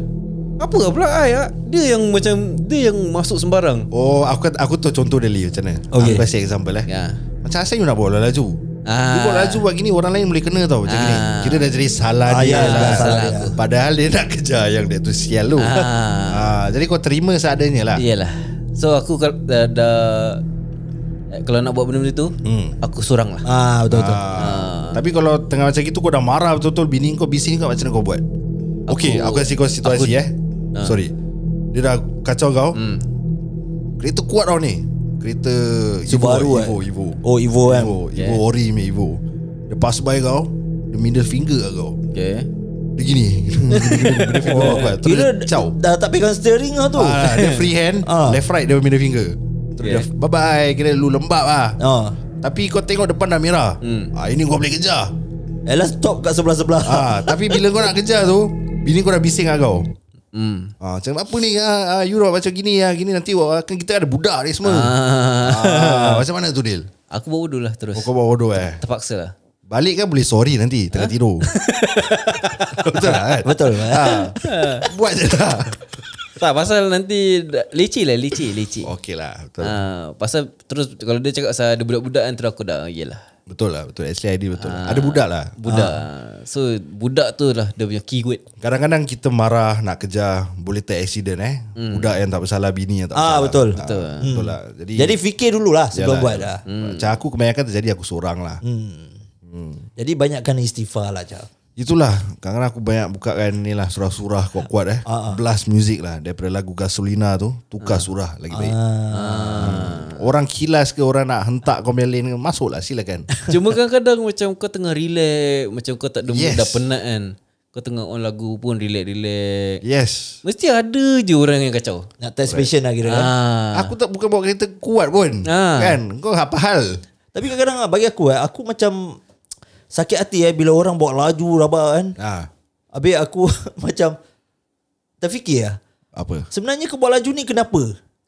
Speaker 2: apa pula ai ah? Dia yang macam dia yang masuk sembarang.
Speaker 4: Oh aku aku tahu contoh dia Lee macam mana
Speaker 3: Okay.
Speaker 4: Aku kasih example eh
Speaker 2: Ya.
Speaker 4: Macam asal you nak bawa laju
Speaker 2: Ah.
Speaker 4: ah. You bawa laju buat gini Orang lain boleh kena tau Macam
Speaker 2: Ah.
Speaker 4: gini Kira dah jadi salah
Speaker 3: Ah, ya,
Speaker 4: dia lah.
Speaker 3: salah, salah
Speaker 2: dia.
Speaker 4: Padahal dia nak kejar Yang dia tu sial lu
Speaker 2: Ah. Ya.
Speaker 4: ah. Jadi kau terima seadanya lah
Speaker 2: Iyalah. So aku kal- dah, dah eh, kalau nak buat benda-benda tu, hmm. aku sorang lah.
Speaker 3: Ah betul betul
Speaker 4: Ah. Tapi kalau tengah macam gitu Kau dah marah betul-betul Bini kau bising kau Macam mana kau buat Okay aku kasih kau situasi eh Sorry Dia dah kacau kau Kereta kuat tau ni Kereta
Speaker 3: Subaru, eh?
Speaker 4: Evo, Evo, Evo.
Speaker 3: Oh Evo kan
Speaker 4: Evo, Evo ori me Evo Dia pass by kau Dia middle finger kat kau
Speaker 2: Okay.
Speaker 4: Dia gini Middle finger kau kuat Oh,
Speaker 3: Oh.
Speaker 4: Terus
Speaker 3: Kira
Speaker 4: dia caw
Speaker 3: dah tak pegang steering lah tu
Speaker 4: ah, Dia free hand
Speaker 3: Ah.
Speaker 4: Left right dia middle finger
Speaker 2: Okay.
Speaker 4: Terus dia bye bye Kira lu lembab lah
Speaker 3: Ah. Hmm.
Speaker 4: Tapi kau tengok depan dah merah ah, Ini kau boleh kejar
Speaker 3: Ella stop kat sebelah-sebelah
Speaker 4: ah, Tapi bila kau nak kejar tu Bini kau dah bising lah kau
Speaker 2: Hmm.
Speaker 4: Ah, macam apa ni ah, ah, You dah macam gini ah, Gini nanti wah, kan kita ada budak ni semua
Speaker 2: Ah.
Speaker 4: ah, Macam mana tu Dil
Speaker 2: Aku buat bodoh lah terus.
Speaker 4: Oh, Kau bawa bodoh eh
Speaker 2: Terpaksa lah.
Speaker 4: Balik kan boleh sorry nanti Tengah tidur Betul lah kan
Speaker 3: Betul
Speaker 4: ha. Buat je lah
Speaker 2: Tak pasal nanti dah- leceh lah leceh leceh. Oh.
Speaker 4: Okey lah betul.
Speaker 3: Ha.
Speaker 2: Ah, pasal terus kalau dia cakap pasal ada budak-budak kan terus aku dah yelah.
Speaker 4: betul lah Betul Actually ID betul
Speaker 3: Ha.
Speaker 4: lah. Ada budak lah
Speaker 2: Budak. Ah. So budak tu lah dia punya keyword.
Speaker 4: Kadang-kadang kita marah Nak kejar Boleh tak accident eh Budak yang tak bersalah Bini yang tak bersalah
Speaker 3: Hmm. Ah betul.
Speaker 4: Ah, betul. lah Jadi,
Speaker 3: Jadi fikir dululah sebelum
Speaker 4: yalah. Hmm.
Speaker 3: buat lah.
Speaker 4: Macam aku kebanyakan terjadi Aku seorang lah
Speaker 3: Jadi banyakkan istighfar lah Chal.
Speaker 4: Itulah Kadang-kadang aku banyak bukakan ni lah Surah-surah kuat-kuat eh
Speaker 2: Ah,
Speaker 4: Blast music lah Daripada lagu Gasolina tu Tukar surah lagi baik
Speaker 2: Ah.
Speaker 4: Hmm. Orang kilas ke Orang nak hentak kau punya lane ke Masuklah silakan
Speaker 2: Cuma kadang-kadang macam kau tengah relax, macam kau tak ada mood,
Speaker 4: Yes.
Speaker 2: dah penat kan. Kau tengah on lagu pun relax-relax.
Speaker 4: Yes
Speaker 2: Mesti ada je orang yang kacau.
Speaker 3: Nak test patient lah kira kan.
Speaker 2: Ah.
Speaker 4: Aku tak bukan bawa kereta kuat pun
Speaker 2: Ah.
Speaker 4: Kan Kau apa hal
Speaker 3: Tapi kadang-kadang ah, bagi aku eh, aku macam sakit hati eh bila orang bawa laju rabak kan.
Speaker 4: ah,
Speaker 3: Habis aku macam terfikir lah.
Speaker 4: Apa
Speaker 3: Sebenarnya kau bawa laju ni kenapa?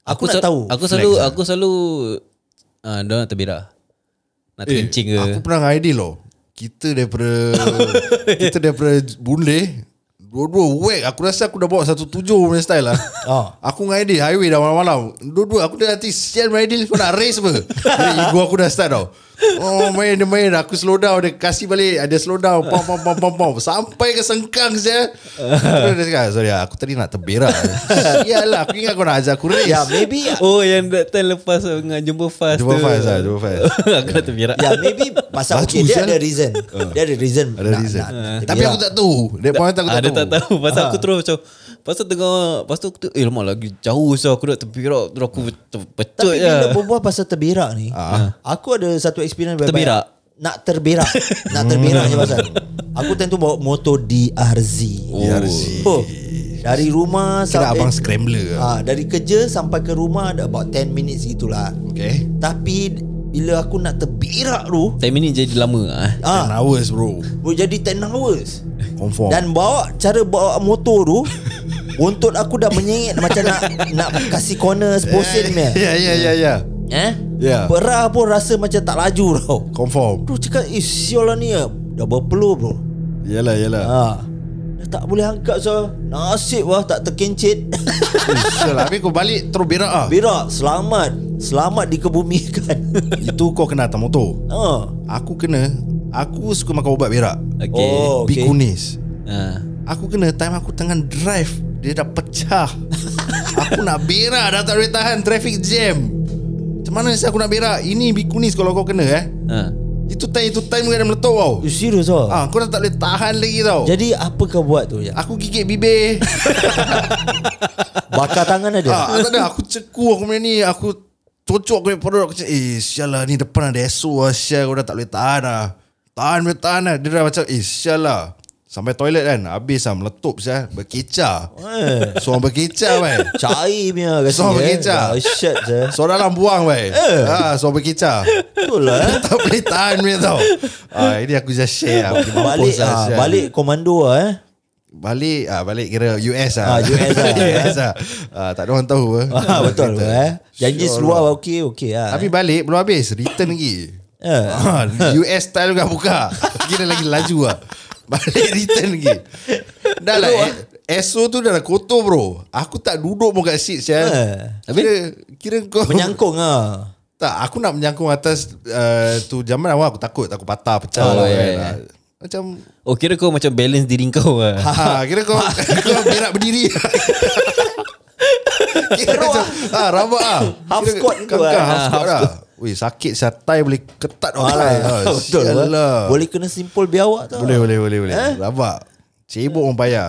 Speaker 3: Aku, nak
Speaker 2: sel-
Speaker 3: tahu.
Speaker 2: Aku selalu
Speaker 4: lah.
Speaker 2: aku selalu ah dia orang terberak. Nak terkencing ke.
Speaker 4: Eh, Aku pernah dengan Aidil loh Kita daripada Kita daripada Boon Lay Dua-dua whack Aku rasa aku dah bawa satu tujuh punya style lah
Speaker 3: Ah.
Speaker 4: Aku dengan Aidil Highway dah malam-malam Dua-dua aku dah nanti Sial dengan Aidil Kau nak race apa Jadi ego aku dah start tau Oh main dia main Aku slow down Dia kasih balik Dia slow down pom, pom, pom, pom, pom. Sampai ke sengkang saya Terus dia cakap Sorry lah, aku tadi nak terberak Sial lah Aku ingat kau nak ajak aku race
Speaker 3: Ya maybe
Speaker 2: Oh yang that time lepas dengan jumpa fast
Speaker 4: Jumpa
Speaker 2: tu.
Speaker 4: Faiz lah Jumpa Faiz
Speaker 2: aku nak terberak.
Speaker 3: Ya maybe Pasal
Speaker 4: Bagus,
Speaker 3: okay, dia
Speaker 4: eh.
Speaker 3: ada reason. dia ada reason.
Speaker 4: Ada
Speaker 3: nak-
Speaker 4: reason
Speaker 3: nak- lah.
Speaker 4: Tapi
Speaker 3: Yelah.
Speaker 4: aku tak tahu That point
Speaker 2: Ah,
Speaker 4: aku tak
Speaker 2: dia
Speaker 4: tahu
Speaker 2: tak tahu Pasal aku terus macam Pasal tengah Lepas tu aku tu Eh lama lagi jauh sah Aku nak terpirak Terus aku ter- pecut
Speaker 3: Tapi
Speaker 4: ya.
Speaker 2: je
Speaker 3: bila berbual pasal terberak
Speaker 4: Ah.
Speaker 3: ni, aku ada satu experience banyak-banyak.
Speaker 2: Terberak?
Speaker 3: Nak terberak. nak terberak
Speaker 4: Hmm.
Speaker 3: je pasal. Aku tentu bawa motor DRZ.
Speaker 4: DRZ.
Speaker 3: Oh. Dari rumah
Speaker 4: Kira
Speaker 3: sampai
Speaker 4: abang scrambler
Speaker 3: Ah, dari kerja sampai ke rumah ada about 10 minutes gitulah.
Speaker 4: Okay
Speaker 3: Tapi bila aku nak terberak tu,
Speaker 2: 10 minit jadi lama ah.
Speaker 4: Ten
Speaker 3: ah,
Speaker 4: hours bro
Speaker 3: boleh jadi 10 hours.
Speaker 4: Confirm
Speaker 3: Dan bawa cara bawa motor tu, buntut aku dah menyengit macam nak nak kasih corner 10 sen ni.
Speaker 4: Ya ya ya ya
Speaker 3: Eh?
Speaker 4: Ya.
Speaker 3: Perah pun rasa macam tak laju tau.
Speaker 4: Confirm
Speaker 3: Bro cakap Eh sial lah ni ah. Dah berpeluh bro
Speaker 4: Yalah yalah
Speaker 3: ha. Dah tak boleh angkat so Nasib lah tak terkencit
Speaker 4: Sial lah Habis kau balik Terus berak ah
Speaker 3: Berak selamat Selamat dikebumikan
Speaker 4: Itu kau kena atas motor
Speaker 3: ha.
Speaker 4: Aku kena Aku suka makan ubat berak
Speaker 2: Okay.
Speaker 3: Oh,
Speaker 2: Oh.
Speaker 3: okay.
Speaker 4: okay. Kunis
Speaker 2: Ah.
Speaker 4: Aku kena time aku tengah drive Dia dah pecah Aku nak berak Dah tak boleh tahan Traffic jam Macam mana saya aku nak berak Ini bikunis kalau kau kena eh
Speaker 2: Ah.
Speaker 4: Itu time Itu time kau dah meletup tau
Speaker 3: You serious lah ha.
Speaker 4: Ah, Kau dah tak boleh tahan lagi tau
Speaker 3: Jadi apa kau buat tu ya?
Speaker 4: Aku gigit bibir
Speaker 3: Bakar tangan ada
Speaker 4: ah, Tak ada Aku ceku aku punya ni Aku cocok aku punya perut Aku cakap Eh sial lah Ni depan ada esok lah Sial kau dah tak boleh tahan lah Tahan boleh tahan lah Dia dah macam Eh sial lah Sampai toilet kan Habis lah meletup sial Berkecah
Speaker 3: eh.
Speaker 4: Seorang berkecah kan
Speaker 3: Cair punya
Speaker 4: Seorang
Speaker 3: kasi eh.
Speaker 4: berkecah.
Speaker 3: Dahsyat je
Speaker 4: Seorang dalam buang weh. Ha, so berkecah.
Speaker 3: Betul lah eh.
Speaker 4: tak boleh tahan punya tau. Ah, ini aku just share lah. Aku
Speaker 3: Balik
Speaker 4: mampus lah,
Speaker 3: ah,
Speaker 4: sial.
Speaker 3: balik komando ah eh.
Speaker 4: Balik ah, balik kira US ah.
Speaker 3: Ah, US lah.
Speaker 4: US ah. Ah, tak ada orang tahu ah.
Speaker 3: Ah, betul
Speaker 4: Kita.
Speaker 3: eh. Janji
Speaker 4: Sure
Speaker 3: seluar
Speaker 4: lah.
Speaker 3: okey okey ah.
Speaker 4: Tapi balik belum habis, return lagi.
Speaker 3: Eh.
Speaker 4: Ah, US style juga buka. Kira lagi laju ah. Balik return lagi. Dah lah. eh, SO tu dah lah kotor bro Aku tak duduk pun kat seat sial
Speaker 3: Eh.
Speaker 4: Kira, kira kau
Speaker 3: menyangkung ah.
Speaker 4: tak, aku nak menyangkung atas uh, tu zaman awal aku takut aku patah pecah
Speaker 2: Oh,
Speaker 4: lah
Speaker 2: ya,
Speaker 4: kan.
Speaker 2: ya.
Speaker 4: Ah, Macam
Speaker 2: Oh kira kau macam balance diri kau ah.
Speaker 4: ha, kira kau kau berak berdiri. kira macam ah rabak ah.
Speaker 3: Half
Speaker 4: Kira
Speaker 3: squat tu,
Speaker 4: kangkang,
Speaker 3: eh.
Speaker 4: half
Speaker 2: Ah,
Speaker 4: squat lah. Weh sakit satai boleh ketat
Speaker 3: Alah, betul
Speaker 4: Sial
Speaker 3: lah.
Speaker 4: lah.
Speaker 3: Boleh Eh? kena simpul biawak tau.
Speaker 4: boleh boleh boleh boleh. Rabak. Cebok orang payah.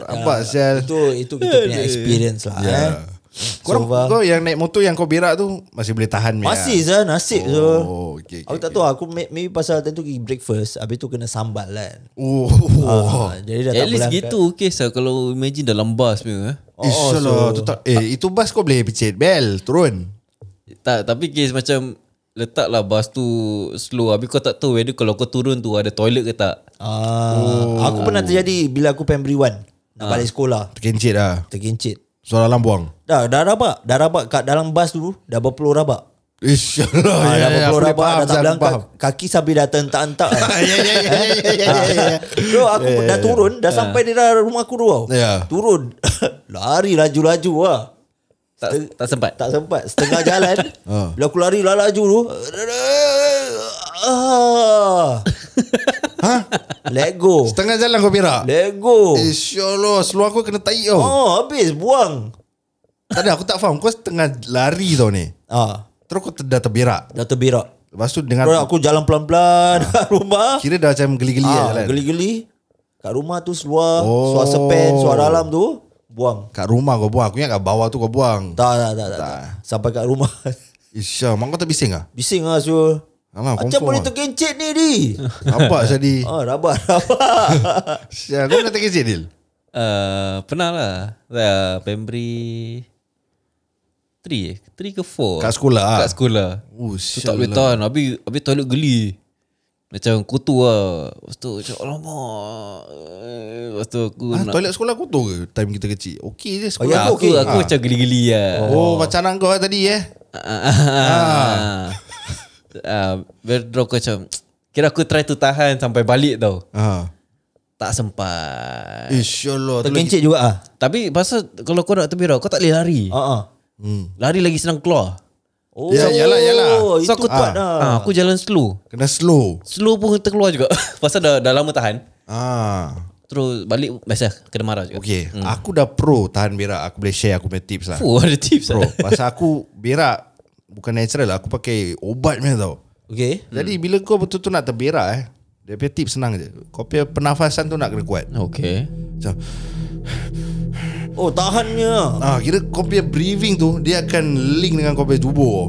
Speaker 4: Rabak
Speaker 3: Ya,
Speaker 4: sial.
Speaker 3: Itu itu kita punya experience lah.
Speaker 4: Ya.
Speaker 3: Yeah. Eh.
Speaker 4: Korang,
Speaker 3: So,
Speaker 4: kau yang naik motor yang kau berak tu masih boleh tahan Mia?
Speaker 3: masih sah nasib tu.
Speaker 4: Oh, okay, okay,
Speaker 3: aku tak tahu aku may- maybe pasal tentu pergi breakfast habis tu kena sambal kan.
Speaker 4: Oh.
Speaker 3: Oh. jadi dah tak
Speaker 2: At least
Speaker 3: boleh angkat.
Speaker 2: gitu okay sah kalau imagine dalam bas punya eh.
Speaker 4: Oh, Insyaallah tu tak eh itu bas kau boleh picit bel turun.
Speaker 2: Tak tapi kes macam letaklah bas tu slow habis kau tak tahu whether kalau kau turun tu ada toilet ke tak.
Speaker 3: Ah, aku
Speaker 4: Oh.
Speaker 3: pernah terjadi bila aku Primary 1
Speaker 2: Ah.
Speaker 3: nak balik sekolah
Speaker 4: Terkencit lah.
Speaker 3: terkincit.
Speaker 4: Suara dalam buang.
Speaker 3: Dah dah rabak, dah rabak kat dalam bas tu dah berpeluh rabak.
Speaker 4: Insyaallah.
Speaker 3: Ah,
Speaker 4: ya,
Speaker 3: dah
Speaker 4: ya,
Speaker 3: berpeluh
Speaker 4: aku boleh
Speaker 3: rabak dah
Speaker 4: Zan,
Speaker 3: tak
Speaker 4: aku
Speaker 3: bilang kaki sambil dah tentak-entak. kan.
Speaker 4: ya ya ya ya ya, ya ya ya.
Speaker 3: Bro aku dah turun Dah sampai di dalam rumah aku dulu tau
Speaker 4: Ya.
Speaker 3: Turun Lari laju-laju lah
Speaker 2: Tak tak sempat.
Speaker 3: Tak sempat Setengah jalan
Speaker 4: Ah.
Speaker 3: Bila aku lari lah laju tu ah.
Speaker 4: Ha?
Speaker 3: Let go
Speaker 4: Oh. Setengah jalan kau berak.
Speaker 3: Let go
Speaker 4: Insyaallah seluar aku kena tahi tau.
Speaker 3: Oh habis buang
Speaker 4: Tak ada aku tak faham kau setengah lari tau ni.
Speaker 3: ah,
Speaker 4: Terus kau ter- dah terberak.
Speaker 3: Dah terberak
Speaker 4: Lepas tu dengan
Speaker 3: Bro, aku jalan pelan-pelan Kat rumah
Speaker 4: kira dah macam geli-geli ah,
Speaker 3: ah,
Speaker 4: jalan.
Speaker 3: Geli-geli Kat rumah tu seluar
Speaker 4: Oh.
Speaker 3: Suara sepen Suara dalam tu Buang
Speaker 4: Kat rumah kau buang. Aku ingat kat bawah tu kau buang.
Speaker 3: tak tak, tak, tak, tak. Sampai kat rumah
Speaker 4: Isya, mak kau tak bising ah?
Speaker 3: Bising lah Zul
Speaker 4: Alah,
Speaker 3: Macam
Speaker 4: confirm
Speaker 3: boleh
Speaker 4: lah.
Speaker 3: terkencit ni di
Speaker 4: Apa jadi?
Speaker 3: Ah, rabak rabak
Speaker 4: Isya, kau pernah terkejut Dil?
Speaker 2: Uh, pernah lah uh, Pemberi 3 eh 3 ke
Speaker 3: Oh.
Speaker 2: 4
Speaker 4: Kat sekolah ah?
Speaker 2: Kat sekolah
Speaker 4: Oh,
Speaker 2: Tu tak boleh tahan Habis, habis toilet geli Macam kutu lah Lepas tu macam Alamak Eh, Lepas tu aku
Speaker 4: Ah,
Speaker 2: nak
Speaker 4: toilet sekolah kotor ke time kita kecil? Okey je
Speaker 2: Aku,
Speaker 4: sekolah.
Speaker 3: Oh, ya,
Speaker 2: aku,
Speaker 3: okey.
Speaker 2: aku macam geli-geli lah
Speaker 4: Oh, oh macam anak kau lah tadi eh.
Speaker 2: Ah. Ah, Lepas tu aku macam Kira aku try to tahan Sampai balik tau
Speaker 4: Ha.
Speaker 2: Tak
Speaker 3: Eh.
Speaker 2: sempat
Speaker 4: Eh, Insyaallah. tu lagi-
Speaker 3: Terkencit juga ah.
Speaker 2: Tapi pasal Kalau kau nak terbirak Kau tak boleh lari
Speaker 3: Ha ah.
Speaker 4: Hmm.
Speaker 2: Lari lagi senang keluar
Speaker 3: Oh,
Speaker 4: Ya, yalah, yalah.
Speaker 3: Itu
Speaker 2: So aku
Speaker 3: kuat
Speaker 2: tak
Speaker 3: dah.
Speaker 2: ah. Aku jalan slow
Speaker 4: Kena slow.
Speaker 2: Slow pun terkeluar juga Pasal dah, dah lama tahan
Speaker 4: Ah.
Speaker 2: Terus balik Biasa kena marah juga
Speaker 4: Okey, hmm. aku dah pro tahan berak. Aku boleh share aku punya tips lah.
Speaker 2: Fuh ada tips
Speaker 4: Pro.
Speaker 2: lah
Speaker 4: Pasal aku berak bukan natural lah. Aku pakai ubat punya tau.
Speaker 3: Okay
Speaker 4: Jadi bila kau betul-betul nak terberak eh, dia punya tip senang je. Kau punya pernafasan tu nak kena kuat.
Speaker 2: Okay
Speaker 4: Macam,
Speaker 3: Oh tahannya
Speaker 4: ah, kira kau punya breathing tu, dia akan link dengan kau punya tubuh.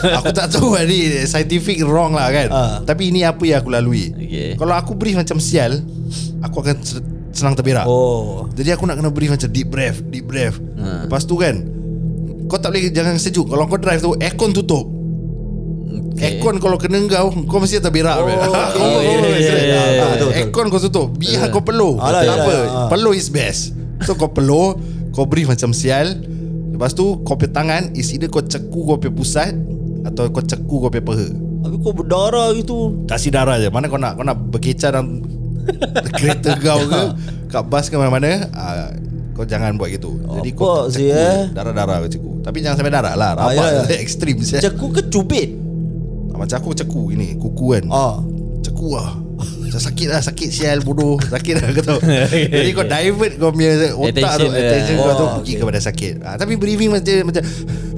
Speaker 4: aku tak tahu lah ni scientific wrong lah kan.
Speaker 3: Ah.
Speaker 4: Tapi ini apa yang aku lalui.
Speaker 2: Okay.
Speaker 4: Kalau aku breathe macam sial, aku akan se- senang terberak.
Speaker 3: Oh
Speaker 4: Jadi aku nak kena breathe macam deep breath, deep breath.
Speaker 2: Ha.
Speaker 4: Lepas tu kan, kau tak boleh jangan sejuk. Kalau kau drive tu, aircon tutup.
Speaker 2: Okay.
Speaker 4: Aircon kalau kena kau Kau mesti akan terberak oh,
Speaker 2: Oh, yeah, yeah, yeah, yeah, yeah.
Speaker 3: Betul, betul.
Speaker 4: Aircon kau tutup
Speaker 2: Yeah.
Speaker 4: Biar kau peluh
Speaker 3: Alah,
Speaker 4: Tak
Speaker 3: alah,
Speaker 4: apa
Speaker 3: alah.
Speaker 4: Peluh is best So kau peluh Kau breathe macam sial Lepas tu Kau punya tangan Is either kau ceku kau punya pusat Atau kau ceku kau punya peha
Speaker 3: Habis kau berdarah gitu
Speaker 4: Kasih darah je Mana kau nak Kau nak berkecar dalam Kereta kau ke Kat bas ke mana-mana ah, Kau jangan buat gitu Jadi kau
Speaker 3: Apa
Speaker 4: ceku
Speaker 3: sih, eh?
Speaker 4: Darah-darah kau ceku Tapi jangan sampai darah lah
Speaker 3: Ah, yalah.
Speaker 4: Rabak ekstrim sial. Ah,
Speaker 3: Ceku ke cubit
Speaker 4: Macam aku ceku gini Kuku kan
Speaker 3: Ah,
Speaker 4: Ceku lah Macam sakit lah Sakit sial bodoh Sakit lah kau tahu Jadi kau divert Kau punya otak
Speaker 2: Attention
Speaker 4: tu
Speaker 2: dia.
Speaker 4: Attention kau tu
Speaker 3: Oh,
Speaker 4: Pergi kepada sakit ha, Tapi breathing macam Macam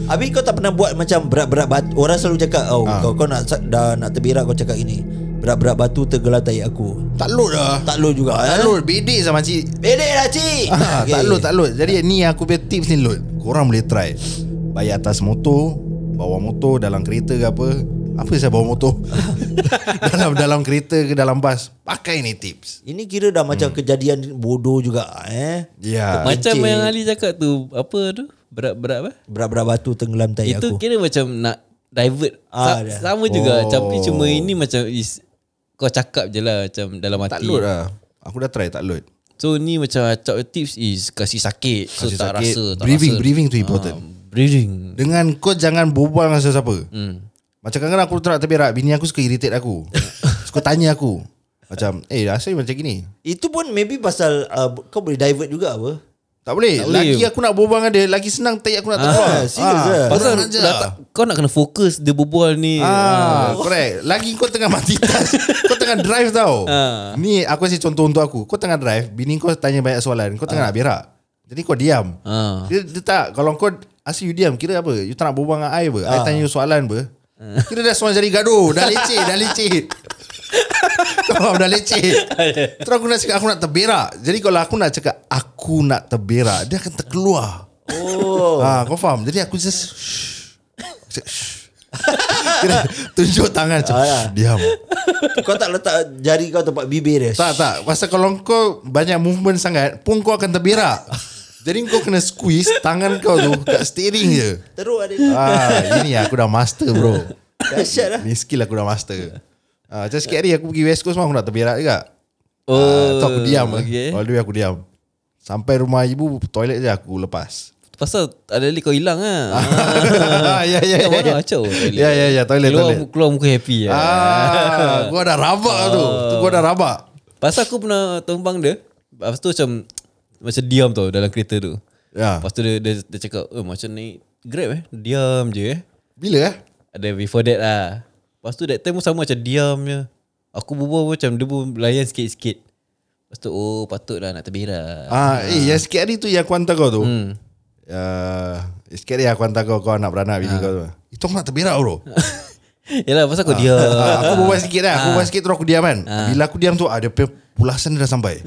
Speaker 3: Habis kau tak pernah buat macam berat-berat batu Orang selalu cakap Oh
Speaker 4: Ah.
Speaker 3: kau, kau nak sa- dah nak terbirak kau cakap gini Berat-berat batu tergelar tahi aku
Speaker 4: Tak load lah
Speaker 3: Tak load juga eh?
Speaker 4: Tak load Bedek sama cik
Speaker 3: Bedek lah cik
Speaker 4: Ah, Tak load tak load Jadi ni aku punya tips ni load Korang boleh try Bayar atas motor Bawa motor Dalam kereta ke apa Apa saya bawa motor Dalam dalam kereta ke dalam bas Pakai ni tips
Speaker 3: Ini kira dah macam
Speaker 4: Hmm.
Speaker 3: kejadian bodoh juga eh
Speaker 4: Ya yeah.
Speaker 2: Macam
Speaker 3: Encik.
Speaker 2: yang Ali cakap tu Apa tu Berat-berat apa
Speaker 3: Berat-berat batu tenggelam
Speaker 4: Eh,
Speaker 3: tahi
Speaker 2: Itu
Speaker 3: aku
Speaker 2: kira macam nak divert
Speaker 3: Ah,
Speaker 2: ah,
Speaker 3: dah.
Speaker 2: Sama juga
Speaker 4: Oh.
Speaker 2: Tapi cuma ini macam is, Kau cakap je lah Macam dalam hati
Speaker 4: Tak load lah Aku dah try tak load
Speaker 2: So ni macam Acap tips is Kasih sakit So
Speaker 4: Kasih
Speaker 2: kasih tak
Speaker 4: sakit.
Speaker 2: rasa tak
Speaker 4: Breathing,
Speaker 2: rasa.
Speaker 4: breathing tu important.
Speaker 2: Ah, Breathing
Speaker 4: Dengan kau jangan berbual dengan sesiapa hmm. Macam kadang-kadang aku tak nak terberak Bini aku suka irritate aku Suka tanya aku Macam Eh rasa macam gini
Speaker 3: Itu pun maybe pasal uh, Kau boleh divert juga apa
Speaker 4: Tak boleh
Speaker 2: Tak boleh.
Speaker 4: Lagi aku nak berbual dengan dia Lagi senang tak aku nak terkeluar
Speaker 3: Ah, serious lah.
Speaker 2: Pasal
Speaker 4: Pasal
Speaker 2: dah tak, kau nak kena fokus Dia berbual ni
Speaker 4: Ah, correct. Lagi kau tengah mati tas, kau tengah drive tau.
Speaker 2: Ah.
Speaker 4: Ni aku kasih contoh untuk aku. Kau tengah drive, bini kau tanya banyak soalan, kau tengah nak berak. Jadi kau diam.
Speaker 2: Ah.
Speaker 4: Dia, dia tak, kalau kau asyik you diam, kira apa? You tak nak berbual dengan I apa? I tanya you soalan apa? Kira dah semua jadi gaduh, dah leceh, dah leceh. Kau faham dah leceh Terus aku nak cakap Aku nak terberak Jadi kalau aku nak cakap Aku nak terberak Dia akan terkeluar Oh ha, Kau faham Jadi aku just shh. Aku cakap, shh. Kira tunjuk tangan macam,
Speaker 3: Alah.
Speaker 4: "Shh, Diam
Speaker 3: Kau tak letak jari kau tempat bibir eh? dia
Speaker 4: Tak tak Pasal kalau kau Banyak movement sangat Pun kau akan terberak Jadi kau kena squeeze Tangan kau tu Kat steering je
Speaker 3: Teruk ada
Speaker 4: ah, Ini aku dah master bro
Speaker 3: Dahsyat lah
Speaker 4: Ni skill aku dah master ah, Macam sikit hari Aku pergi West Coast pun Aku nak terberak juga Ah,
Speaker 2: Oh,
Speaker 4: tu aku diam okay.
Speaker 2: okay.
Speaker 4: All the way aku diam Sampai rumah ibu Toilet je aku lepas
Speaker 2: Pasal ada lagi kau hilang lah
Speaker 4: Ya ya
Speaker 2: Ya
Speaker 4: ya
Speaker 2: mana
Speaker 4: ya.
Speaker 2: acau
Speaker 4: Ya ya ya toilet
Speaker 2: Keluar,
Speaker 4: toilet
Speaker 2: keluar muka happy lah
Speaker 4: Ah, Gua dah rabak tu Tu Gua dah rabak
Speaker 2: Pasal aku pernah tumpang dia Lepas tu macam Macam diam tau dalam kereta tu
Speaker 4: Ya
Speaker 2: Lepas tu dia, dia, dia cakap oh, Macam naik grab eh Diam je eh
Speaker 4: Bila eh
Speaker 2: Ada before that lah Lepas tu that time pun sama macam diam je Aku berbual macam Dia pun layan sikit-sikit Lepas tu oh patut lah nak terberak
Speaker 4: Ah, eh, yang sikit hari tu yang aku hantar kau tu. Hmm. sikit hari aku hantar kau, kau anak beranak bini kau tu. Itu aku nak terberak bro.
Speaker 2: Yelah pasal kau diam
Speaker 4: Ah, aku berbual sikit lah. Aku berbual sikit terus aku diam kan. Bila aku diam tu, ah, dia punya pulasan dia dah sampai.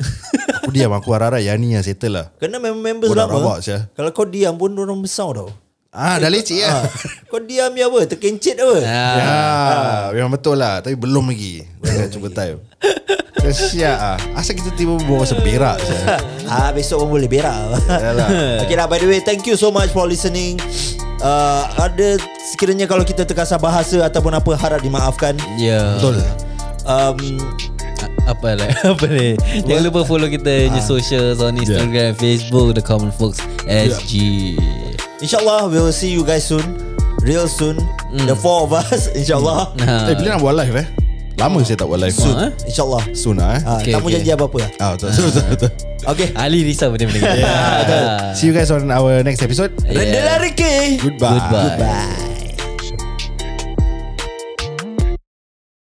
Speaker 4: aku diam, aku harap-harap yang ni yang settle lah.
Speaker 3: Kena member-member
Speaker 4: Budak
Speaker 3: lama
Speaker 4: rabak, sia.
Speaker 3: Kalau kau diam pun Orang besar tau
Speaker 4: Ah, dah leceh lah.
Speaker 3: ha. Kau diam ya apa Terkencit apa
Speaker 2: Ah,
Speaker 4: Ya, memang betul lah. Tapi belum lagi. Jangan cuba time. Kesiak ah. Asal kita tiba berbual pasal berak saya.
Speaker 3: Ah Besok pun boleh berak
Speaker 4: Yalah.
Speaker 3: Okay lah by the way Thank you so much for listening uh, Ada Sekiranya kalau kita terkasar bahasa Ataupun apa Harap dimaafkan
Speaker 2: Ya
Speaker 4: Betul.
Speaker 3: um,
Speaker 2: A- Apa lah Apa ni Jangan lupa follow kita Di
Speaker 4: Ah.
Speaker 2: social
Speaker 4: Ya.
Speaker 2: On Instagram Facebook The Common Folks SG
Speaker 4: Ya.
Speaker 3: InsyaAllah We'll see you guys soon Real soon
Speaker 2: Hmm.
Speaker 3: The four of us InsyaAllah
Speaker 2: Ha.
Speaker 4: Eh, bila nak buat live eh? Lama saya tak buat live.
Speaker 2: Soon.
Speaker 4: Ah, eh?
Speaker 3: InsyaAllah
Speaker 4: Soon ah. eh?
Speaker 3: ha,
Speaker 2: Okay,
Speaker 3: okay, Kamu
Speaker 2: okay.
Speaker 3: janji apa-apa lah
Speaker 4: Ah, betul, betul, betul, betul.
Speaker 3: Okay
Speaker 2: Ali risau benda-benda
Speaker 4: Ah.
Speaker 2: Ah.
Speaker 4: See you guys on our next episode.
Speaker 2: Yeah.
Speaker 3: Rendah lah Ricky
Speaker 4: Eh. Goodbye.
Speaker 2: Goodbye.
Speaker 3: Bye